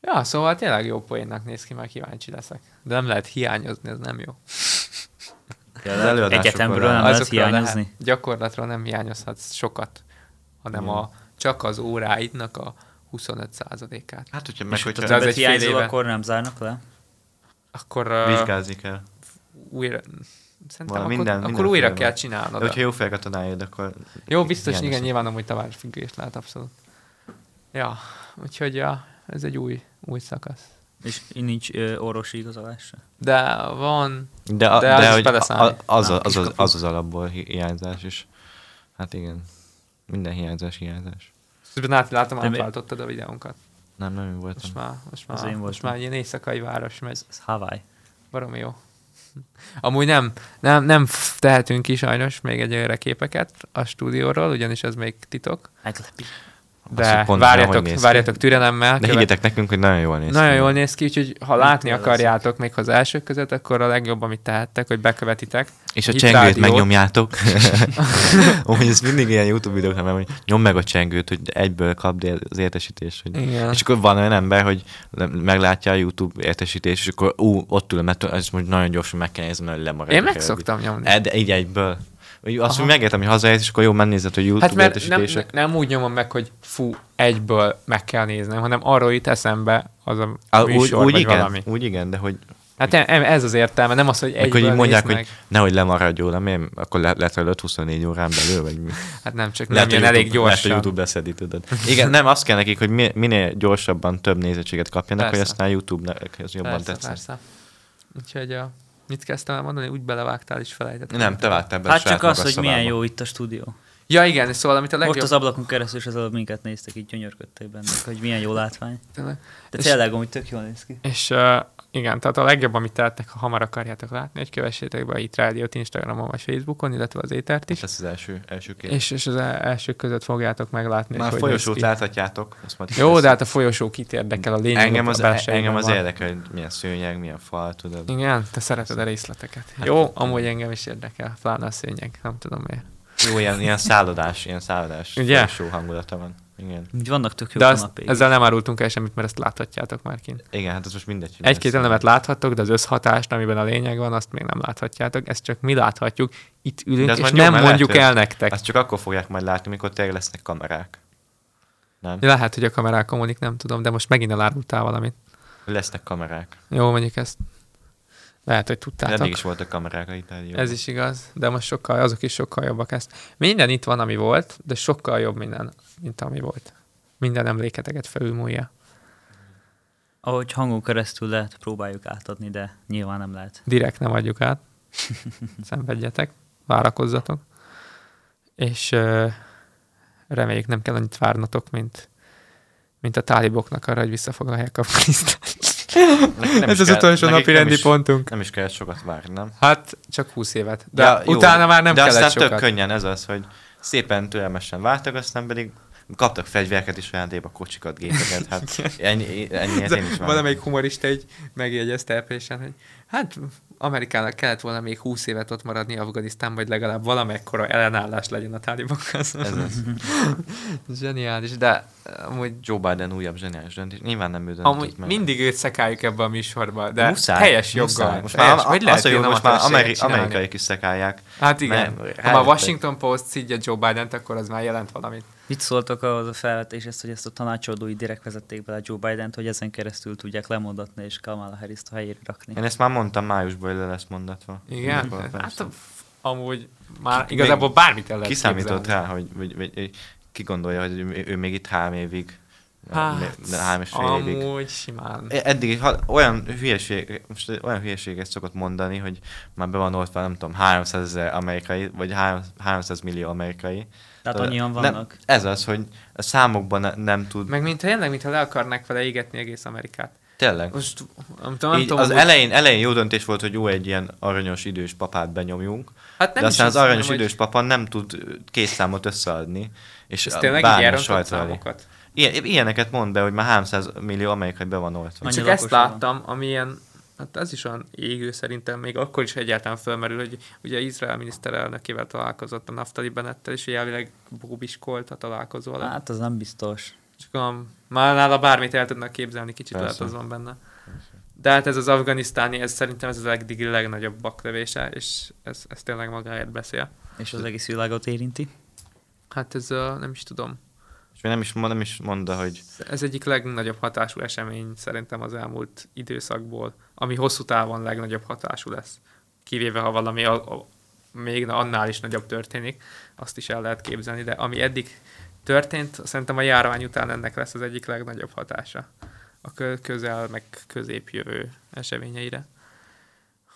Ja, szóval tényleg jó poénnak néz ki, már kíváncsi leszek. De nem lehet hiányozni, ez nem jó.
előadásokon
Egyetemről nem
rá.
lehet
Azokról
hiányozni.
Lehet, gyakorlatról nem hiányozhatsz sokat, hanem a, csak az óráidnak a 25%-át.
Hát, hogyha meg,
az
hogyha
egy
Többet
fél
hiányzol,
éve.
akkor nem zárnak le.
Akkor uh,
vizsgázni kell.
újra... Szerintem
Val-
akkor,
minden-
minden, akkor újra
mindenféle van.
kell
De
csinálnod.
hogyha
Hogyha...
jó fejek a tanájod, akkor...
Jó, biztos, igen,
hiányozod.
nyilván amúgy tavárfüggés lehet abszolút. Ja, úgyhogy ja, ez egy új, új szakasz.
És így nincs ö, orvosi igazolás se.
De van,
De, a,
De az
de,
is
hogy
beleszámít.
a- az,
Na,
a- az, az,
kiskapu.
az, az alapból hi- hiányzás is. Hát igen. Minden hiányzás, hiányzás.
közben át- látom,
De mi-
átváltottad a videónkat.
Nem, nem én voltam.
Most már, most
Az
már,
én
most
voltam.
már ilyen éjszakai város megy.
Ez Hawaii.
Baromi jó. Amúgy nem, nem, nem f- tehetünk ki sajnos még egy olyan képeket a stúdióról, ugyanis ez még titok.
Meglepi.
De
pont nem, hogy
várjatok,
néz
várjatok türelemmel.
De
követ-
higgyetek nekünk, hogy nagyon jól néz
Nagyon
ki.
jól néz ki, úgyhogy ha látni
kell lesz.
akarjátok még az elsők között, akkor a legjobb, amit tehettek, hogy bekövetitek.
És a
Hit
csengőt
rádiót.
megnyomjátok. Úgy ez mindig ilyen YouTube videóknál, mert hogy nyom meg a csengőt, hogy egyből kapd el az értesítést. Hogy...
Igen.
És akkor van olyan ember, hogy le- meglátja a YouTube értesítést, és akkor ú, ott ül, mert ezt most nagyon gyorsan meg kell nézni, mert lemarad.
Én meg szoktam nyomni.
E, de így egyből. Úgy Azt, hogy megértem, hogy hazaérsz, és akkor jó, megnézed, hogy YouTube
Hát mert nem,
értesítések.
nem úgy nyomom meg, hogy fú, egyből meg kell néznem, hanem arról itt eszembe az a
Á, úgy,
műsor,
úgy,
vagy
igen,
valami.
úgy igen, de hogy
Hát nem, ez az értelme, nem az, hogy
Mikor
egyből
így mondják,
nézd
hogy
meg.
nehogy lemaradjon, nem én, akkor le, letölött 24 órán belül, vagy mi?
Hát nem, csak nem
Lehet,
jön
hogy
elég
YouTube- Lehet,
gyorsan.
hogy YouTube leszedi, tudod. Igen, nem, azt kell nekik, hogy mi- minél gyorsabban több nézettséget kapjanak,
Persze.
hogy aztán YouTube-nek ez jobban
persze,
tetszik.
Persze. Úgyhogy a, mit kezdtem el mondani, úgy belevágtál és felejtettem.
Nem, te vágtál be a
Hát csak
saját magad
az, hogy milyen
szavába.
jó itt a stúdió.
Ja igen, szóval amit a legjobb...
Most az ablakon keresztül is az előbb minket néztek, így gyönyörködtek benne, hogy milyen jó látvány.
tényleg.
De
És-
tényleg, amúgy tök jól néz ki.
És uh, igen, tehát a legjobb, amit tehettek, ha hamar akarjátok látni, hogy kövessétek be itt rádiót Instagramon vagy Facebookon, illetve az étert
És
is.
Hát ez az első, első kép.
És, és az el- elsők között fogjátok meglátni.
Már
hogy
folyosót
néz ki.
láthatjátok. azt majd
Jó,
kiteszem.
de hát a folyosó kit érdekel, a lényeg
engem
a
az, e-
belsejében
engem az
van.
érdekel, hogy milyen szőnyeg, milyen fal, tudod.
Igen, te szereted a részleteket.
Hát
Jó, amúgy engem is érdekel, pláne a szőnyeg, nem tudom miért.
Jó, ilyen, ilyen szállodás, ilyen szállodás
Ugye?
folyosó hangulata van. Igen.
Így vannak tök jó
De azt,
kanapék.
ezzel nem árultunk el semmit, mert ezt láthatjátok már kint.
Igen, hát ez most mindegy. hogy
Egy-két
lesz.
elemet láthattok, de az összhatást, amiben a lényeg van, azt még nem láthatjátok. Ezt csak mi láthatjuk. Itt ülünk,
De az
és
majd jó,
nem
mert
mondjuk
lehet,
el
hogy
nektek.
Ezt csak akkor fogják majd látni, mikor tényleg lesznek kamerák. Nem?
Lehet, hogy a kamerák kommunik, nem tudom, de most megint elárultál valamit.
Lesznek kamerák.
Jó, mondjuk ezt. Lehet, hogy
De
tudtátok.
mégis voltak kamerák a Itáliában.
Ez is igaz, de most sokkal, azok is sokkal jobbak ezt. Minden itt van, ami volt, de sokkal jobb minden, mint ami volt. Minden emléketeket felülmúlja.
Ahogy hangon keresztül lehet, próbáljuk átadni, de nyilván nem lehet.
direkt nem adjuk át. Szenvedjetek, várakozzatok. És ö, reméljük nem kell annyit várnatok, mint, mint a táliboknak arra, hogy visszafoglalják a Afganisztánt.
Nem
Ez
is
az
kell-
utolsó
nekik
napi
nem
rendi
is-
pontunk.
Nem is kell sokat várni, nem?
Hát csak 20 évet. De ja, utána
jó,
már nem
de
kellett
aztán
sokat.
tök könnyen ez az, hogy szépen türelmesen vártak, aztán pedig kaptak fegyvereket is ajándékba, kocsikat, gépeket, hát ennyi, ennyi ez én is várom.
Valamelyik humorista így megjegyezte epésen, hogy hát Amerikának kellett volna még 20 évet ott maradni Afganisztán, vagy legalább valamekkora ellenállás legyen a tálibokkal.
Ez az.
Zseniális, de amúgy,
Joe Biden újabb zseniális döntés. Nyilván nem ő döntött
amúgy
meg.
mindig őt szekáljuk ebbe a műsorba, de
Muszáj,
helyes
muszáj.
joggal.
Most
helyes,
már,
hogy
hogy
lehet
az a jó,
ilyen
hogy most már
amatőrséget
ameri-
csinálni?
amerikaiak is szekálják.
Hát igen,
Nem,
ha már
rájöttek.
Washington Post szidja Joe Biden-t, akkor az már jelent valamit.
Mit szóltok ahhoz a felvetéshez, hogy ezt a tanácsadói direkt vezették bele Joe Biden-t, hogy ezen keresztül tudják lemondatni és Kamala Harris-t a helyére rakni?
Én ezt már mondtam, májusban le lesz mondatva.
Igen?
Mikor,
Hát
persze.
a- amúgy már igazából bármit el lehet
Ki számított
képzelni.
rá, hogy, hogy, hogy, hogy ki gondolja, hogy ő, ő még itt három évig,
Hát,
de három és fél évig. E-
amúgy simán.
Eddig ha, olyan, hülyeség, most olyan hülyeséget szokott mondani, hogy már be van oltva, nem tudom, 300 ezer amerikai, vagy három- 300 millió amerikai.
Tehát
Tudod,
annyian
Nem,
vannak.
ez az, hogy a számokban ne, nem tud. Meg
Meg mint tényleg, mintha le akarnák vele égetni egész Amerikát.
Tényleg.
Most nem tudom, nem
Így
tudom,
az
hogy-
elején, elején jó döntés volt, hogy jó egy ilyen aranyos idős papát benyomjunk,
Hát
hát
nem
de
is
aztán az
hiszem,
aranyos
hogy-
idős papa nem tud kész számot összeadni, és
ez tényleg így
bármi
elrontott
sajtó elé.
számokat.
Ilyen, ilyeneket mond be, hogy már 300 millió amerikai be van oltva.
Annyi
Csak
lakosa
ezt
van.
láttam, ami ilyen, hát ez is olyan égő szerintem, még akkor is egyáltalán fölmerül, hogy ugye Izrael miniszterelnökével találkozott a Naftali Bennettel, és ugye elvileg bóbiskolt a találkozó alatt.
Hát az nem biztos.
Csak gondolom, már nála bármit el tudnak képzelni, kicsit Persze.
Persze.
lehet az van benne. De hát ez az afganisztáni, ez szerintem ez az eddig legnagyobb baklövése, és ez, ez tényleg magáért beszél.
És az egész világot érinti.
Hát ez a, nem is tudom,
És még nem is, mond- nem is mondta, hogy
ez egyik legnagyobb hatású esemény szerintem az elmúlt időszakból, ami hosszú távon legnagyobb hatású lesz. Kivéve, ha valami a, a, még annál is nagyobb történik, azt is el lehet képzelni, de ami eddig történt, szerintem a járvány után ennek lesz az egyik legnagyobb hatása a kö- közel, meg középjövő eseményeire.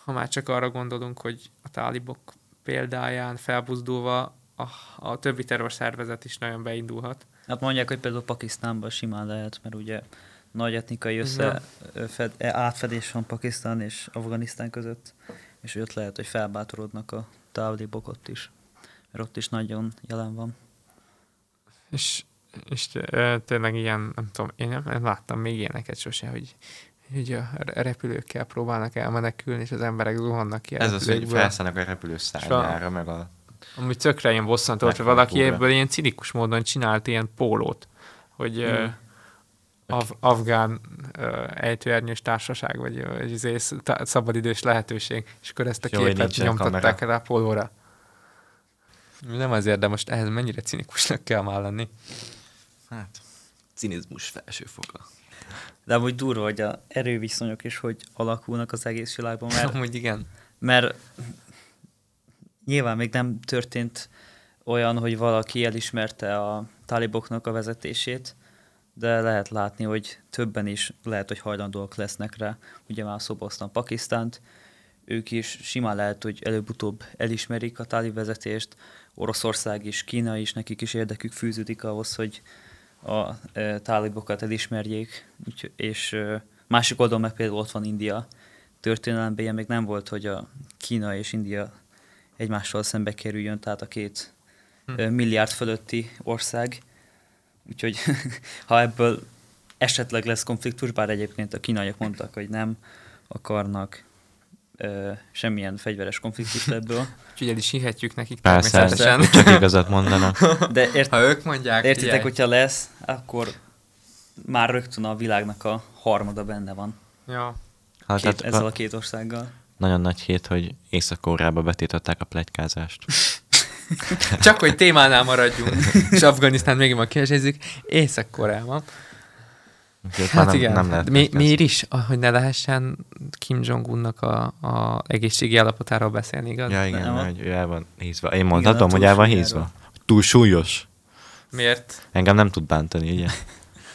Ha már csak arra gondolunk, hogy a tálibok példáján felbuzdulva a, a többi terrorszervezet is nagyon beindulhat.
Hát mondják, hogy például Pakisztánban simán lehet, mert ugye nagy etnikai össze, fed, átfedés van Pakisztán és Afganisztán között, és ott lehet, hogy felbátorodnak a távlibok ott is, mert ott is nagyon jelen van.
És, és ö, tényleg ilyen, nem tudom, én nem, nem láttam még ilyeneket sose, hogy hogy a r- repülőkkel próbálnak elmenekülni, és az emberek zuhannak ki a
ez az, hogy
repülőkből.
felszállnak a repülő szárnyára, meg a...
Amúgy tökre ilyen bosszantó, hogy
Meghalt
valaki
újra.
ebből ilyen cinikus módon csinált ilyen pólót, hogy mm. af- afgán ö, ejtőernyős társaság, vagy ö, egy izé sz- tá- szabadidős lehetőség, és akkor ezt a
Jó, hogy
képet
nincsen
nyomtatták
kamera.
rá a pólóra. Nem azért, de most ehhez mennyire cinikusnak kell már lenni.
Hát, cinizmus felsőfoka.
De amúgy durva, hogy a erőviszonyok is hogy alakulnak az egész világban, mert
Amúgy igen.
Mert nyilván még nem történt olyan, hogy valaki elismerte a táliboknak a vezetését, de lehet látni, hogy többen is lehet, hogy hajlandóak lesznek rá. Ugye már szoboztam Pakisztánt, ők is simán lehet, hogy előbb-utóbb elismerik a tálib vezetést, Oroszország is, Kína is, nekik is érdekük fűződik ahhoz, hogy a e, tálibokat elismerjék, Úgyhogy- és e, másik oldalon meg például ott van India. Történelemben ilyen még nem volt, hogy a Kína és India egymással szembe kerüljön, tehát a két e, milliárd fölötti ország. Úgyhogy ha ebből esetleg lesz konfliktus, bár egyébként a kínaiak mondtak, hogy nem akarnak ö, semmilyen fegyveres konfliktust ebből,
Úgyhogy el is hihetjük nekik
Persze,
természetesen.
csak igazat mondanak.
de ért,
Ha ők mondják,
Értitek,
figyelj.
hogyha lesz, akkor már rögtön a világnak a harmada benne van.
Ja.
Hát,
Két,
tehát
ezzel a két országgal.
Nagyon nagy hét, hogy Észak-Koreába betiltották a plegykázást.
Csak hogy témánál maradjunk, és Afganisztán még ma kérdezzük, Észak-Koreában.
Úgyhogy ott
Hát
már nem,
igen,
nem
hát
lehet
mi,
pletykázni.
miért is, Ah, hogy ne lehessen Kim Jong-unnak a, a egészségi állapotáról beszélni, igaz?
Ja, igen,
Nem,
mert hogy ő el van hízva. Én
Igen,
mondhatom,
a
hogy el van
túlsúlyáról.
hízva. Túl súlyos.
Miért?
Engem nem tud bántani, ugye?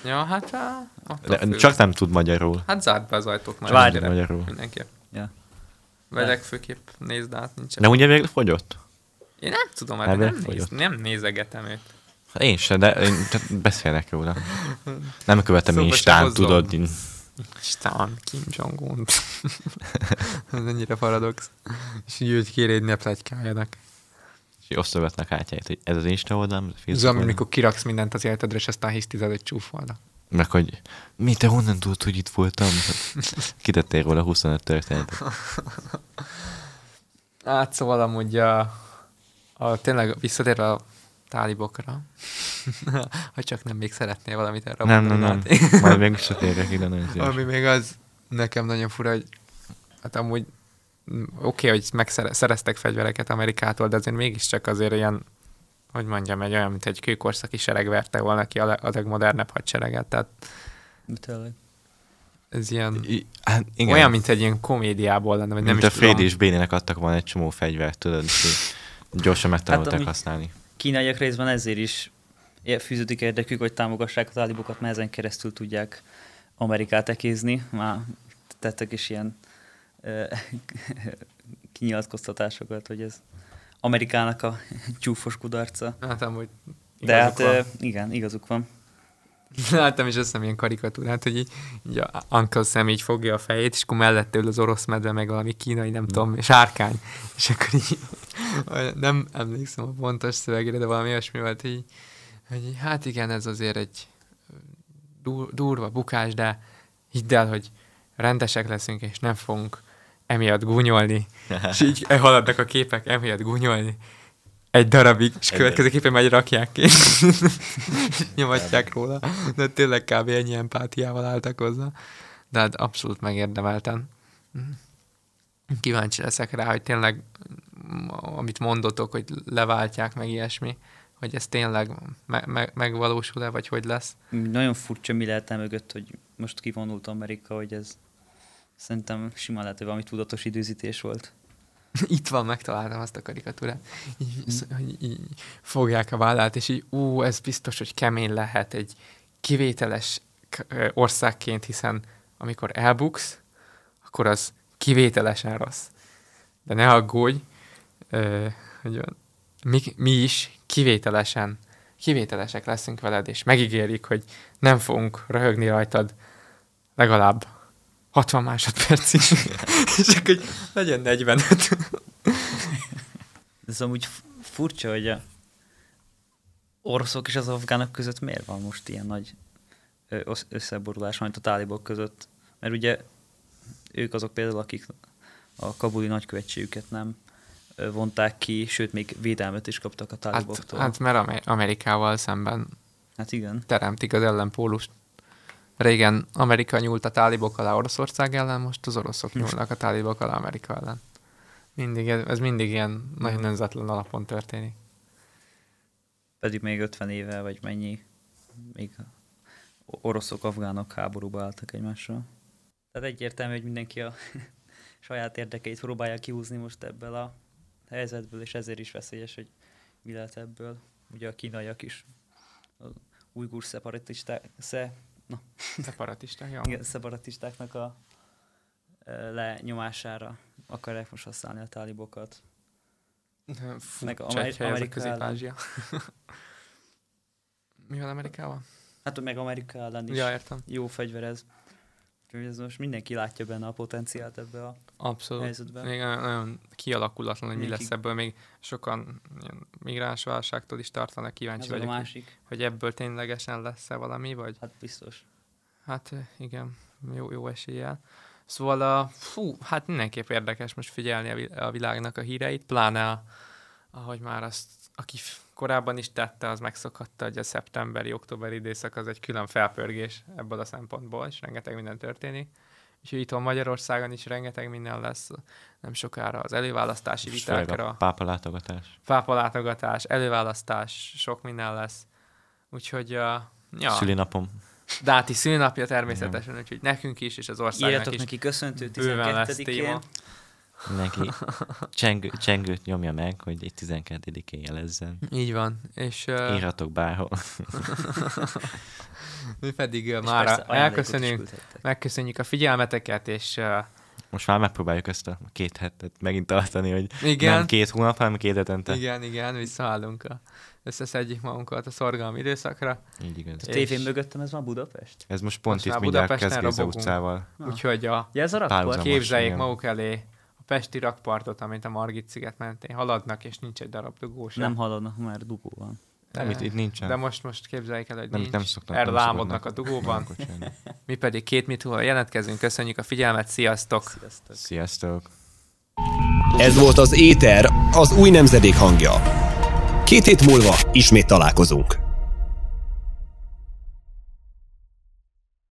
Ja, hát á, attól
De,
függ.
csak nem tud magyarul.
Hát zárd be az ajtót már.
Várj.
mindenkire.
Magyarul.
Mindenképp.
Ja.
Vagy
Ne.
legfőképp nézd át, nincs.
De ugye végül fogyott?
Én nem tudom, hát
Nem
nem,
vagyok.
néz, nem nézegetem őt.
Hát Én se, de én, tehát beszélnek róla. Nem követem
Szóba
én
se
Instán,
hozzom.
tudod. Én
Isten, Kim Jong-un. Ez ennyire paradox. És így őt kérédni a plegykáljanak.
És osztogatnak hátjait, hogy ez az Insta oldalam, ez a
Ez
Facebook
olyan, mint
oldalam.
mikor kiraksz mindent az életedre, és aztán hisz tized, hogy csúfolnak.
Meg hogy, mi, te honnan tudod, hogy itt voltam? Hát, Kitettél róla 25 történetet.
Hát szóval amúgy a, a tényleg visszatérve a tálibokra, ha csak nem még szeretnél valamit erre
Nem, nem,
mondani,
nem.
Máté.
Majd meg is térek ide, nagyon szívesen.
Ami még az nekem nagyon fura, hogy hát amúgy mm, oké, okay, hogy megszereztek fegyvereket Amerikától, de azért mégiscsak azért ilyen, hogy mondjam, egy olyan, mint egy kőkorszaki sereg verte volna ki a, le- a legmodernebb hadsereget, tehát
Tényleg.
ez ilyen,
I- Hát, igen.
olyan, mint egy ilyen komédiából lenne, vagy nem
Mint
is
a Frédi
tudom.
és Bénének adtak volna egy csomó fegyvert, tudod, és így gyorsan
Hát,
megtanulták
ami-
használni.
Kínaiak részben ezért is é- fűződik érdekük, hogy támogassák a tálibokat, mert ezen keresztül tudják Amerikát ekézni. Már tettek is ilyen ö, kinyilatkoztatásokat, hogy ez Amerikának a csúfos kudarca.
Hát amúgy
De hát
igazuk van.
ö, igen, igazuk van.
Láttam is azt hiszem ilyen karikatúrát, hogy így, így a Uncle Sam így fogja a fejét, és akkor mellette ül az orosz medve, meg valami kínai, nem tudom, sárkány. És akkor így, olyan- nem emlékszem a pontos szövegére, de valami olyasmi volt, így, hogy így, hát igen, ez azért egy dur- durva bukás, de hidd el, hogy rendesek leszünk, és nem fogunk emiatt gúnyolni. És így eh, haladnak a képek, emiatt gúnyolni. Egy darabig, és
Egy
következő képen megy rakják ki. nyomatják róla. De tényleg kb. ennyi empátiával álltak hozzá. De hát abszolút megérdemelten. Kíváncsi leszek rá, hogy tényleg mm, amit mondotok, hogy leváltják meg ilyesmi, hogy ez tényleg me- me- megvalósul-e, vagy hogy lesz.
Nagyon furcsa, mi lehet el mögött, hogy most kivonult Amerika, hogy ez szerintem simán lehet, hogy valami tudatos időzítés volt.
Itt van, megtaláltam azt a karikatúrát. Így, sz- hogy így fogják a vállát, és így, ú, ez biztos, hogy kemény lehet egy kivételes k- ö, országként, hiszen amikor elbuksz, akkor az kivételesen rossz. De ne aggódj, ö, hogy van, mi, mi is kivételesen, kivételesek leszünk veled, és megígérik, hogy nem fogunk röhögni rajtad legalább 60 másodpercig, és akkor hogy legyen 45.
Ez amúgy f- furcsa, hogy a oroszok és az afgánok között miért van most ilyen nagy ö, osz- összeborulás, majd a tálibok között. Mert ugye ők azok például, akik a kabuli nagykövetségüket nem ö, vonták ki, sőt, még védelmet is kaptak a
Hát,
táliboktól. Hát,
hát mert Amer- Amerikával szemben
hát igen.
teremtik az ellenpólust. Régen Amerika nyúlt a tálibok alá Oroszország ellen, most az oroszok nyúlnak a tálibok alá Amerika ellen. Mindig, ez ez mindig ilyen nagyon önzetlen alapon történik.
Pedig még 50 éve, vagy mennyi, még oroszok-afgánok háborúba álltak egymással. Tehát egyértelmű, hogy mindenki a saját érdekeit próbálja kihúzni most ebből a helyzetből, és ezért is veszélyes, hogy mi lehet ebből. Ugye a kínaiak is, az ujgur szeparatisták, sze, na,
Szeparatisták, jó?
igen, szeparatistáknak a ö, lenyomására akarják most használni a tálibokat.
Fú, Meg
Meg Ameri-
Amerika ez a
Amerika
közép-ázsia. Mi van Amerikával?
Hát meg Amerika ellen is.
Ja, értem.
jó fegyver ez. Úgyhogy ez most mindenki látja benne a potenciált ebbe a
Abszolút.
helyzetben.
Még nagyon- nagyon kialakulatlan, hogy mi
Mindenki-
lesz ebből. Még sokan ilyen migránsválságtól is tartanak. Kíváncsi
Ez a
vagyok, hogy-
másik,
hogy ebből ténylegesen lesz-e valami, vagy
hát biztos.
Hát eh, igen, jó, jó eséllyel. Szóval, a, fú, hát mindenképp érdekes most figyelni a, vi- a világnak a híreit, pláne a, ahogy már azt, aki f- korábban is tette, az megszokhatta, hogy a szeptemberi, októberi időszak az egy külön felpörgés ebből a szempontból, és rengeteg minden történik. És itt a Magyarországon is rengeteg minden lesz nem sokára az előválasztási
És főleg
vitákra
a pápa látogatás.
pápa látogatás, előválasztás, sok minden lesz. Úgyhogy, uh, ja,
Szülinapom.
Dáti szülnapja természetesen, úgyhogy nekünk is, és az országnak
Írjatok
is.
neki köszöntő
bőven lesz téma.
12-én.
Mindenki csengő, csengőt nyomja meg, hogy egy 12-én jelezzen.
Így van. És uh,
Írhatok bárhol.
mi pedig uh,
És
már
persze ajándékot is
elköszönünk,
küldhettek.
megköszönjük a figyelmeteket, és uh,
most már megpróbáljuk ezt a két hetet megint tartani, hogy
Igen.
nem két hónap, hanem két hetente.
Igen, igen, visszaállunk. A, összeszedjük magunkat a szorgalmi időszakra.
Így igaz.
A
És-
tévén mögöttem ez van Budapest?
Ez most pont
Most
itt
már
mindjárt
Budapesten
Keszgéza
robogunk.
utcával.
Úgyhogy a
Ja, ez a rakpart?
Párhuzamos.
képzeljék
igen.
maguk elé a Pesti rakpartot, amit a Margit sziget mentén haladnak, és nincs egy darab dugó sem.
Nem haladnak, már dugó van.
Nem, itt, itt nincsen.
De most, most képzeljék el, hogy
nem,
nincs.
itt nem szoknak.
Erre
nem
lámodnak a
szoknak
dugóban.
ilyenkor csinálni.
Mi pedig két mit hol jelentkezünk. Köszönjük a figyelmet, sziasztok!
Sziasztok.
Sziasztok.
Ez volt az Éter, az új nemzedék hangja. Két hét múlva ismét találkozunk.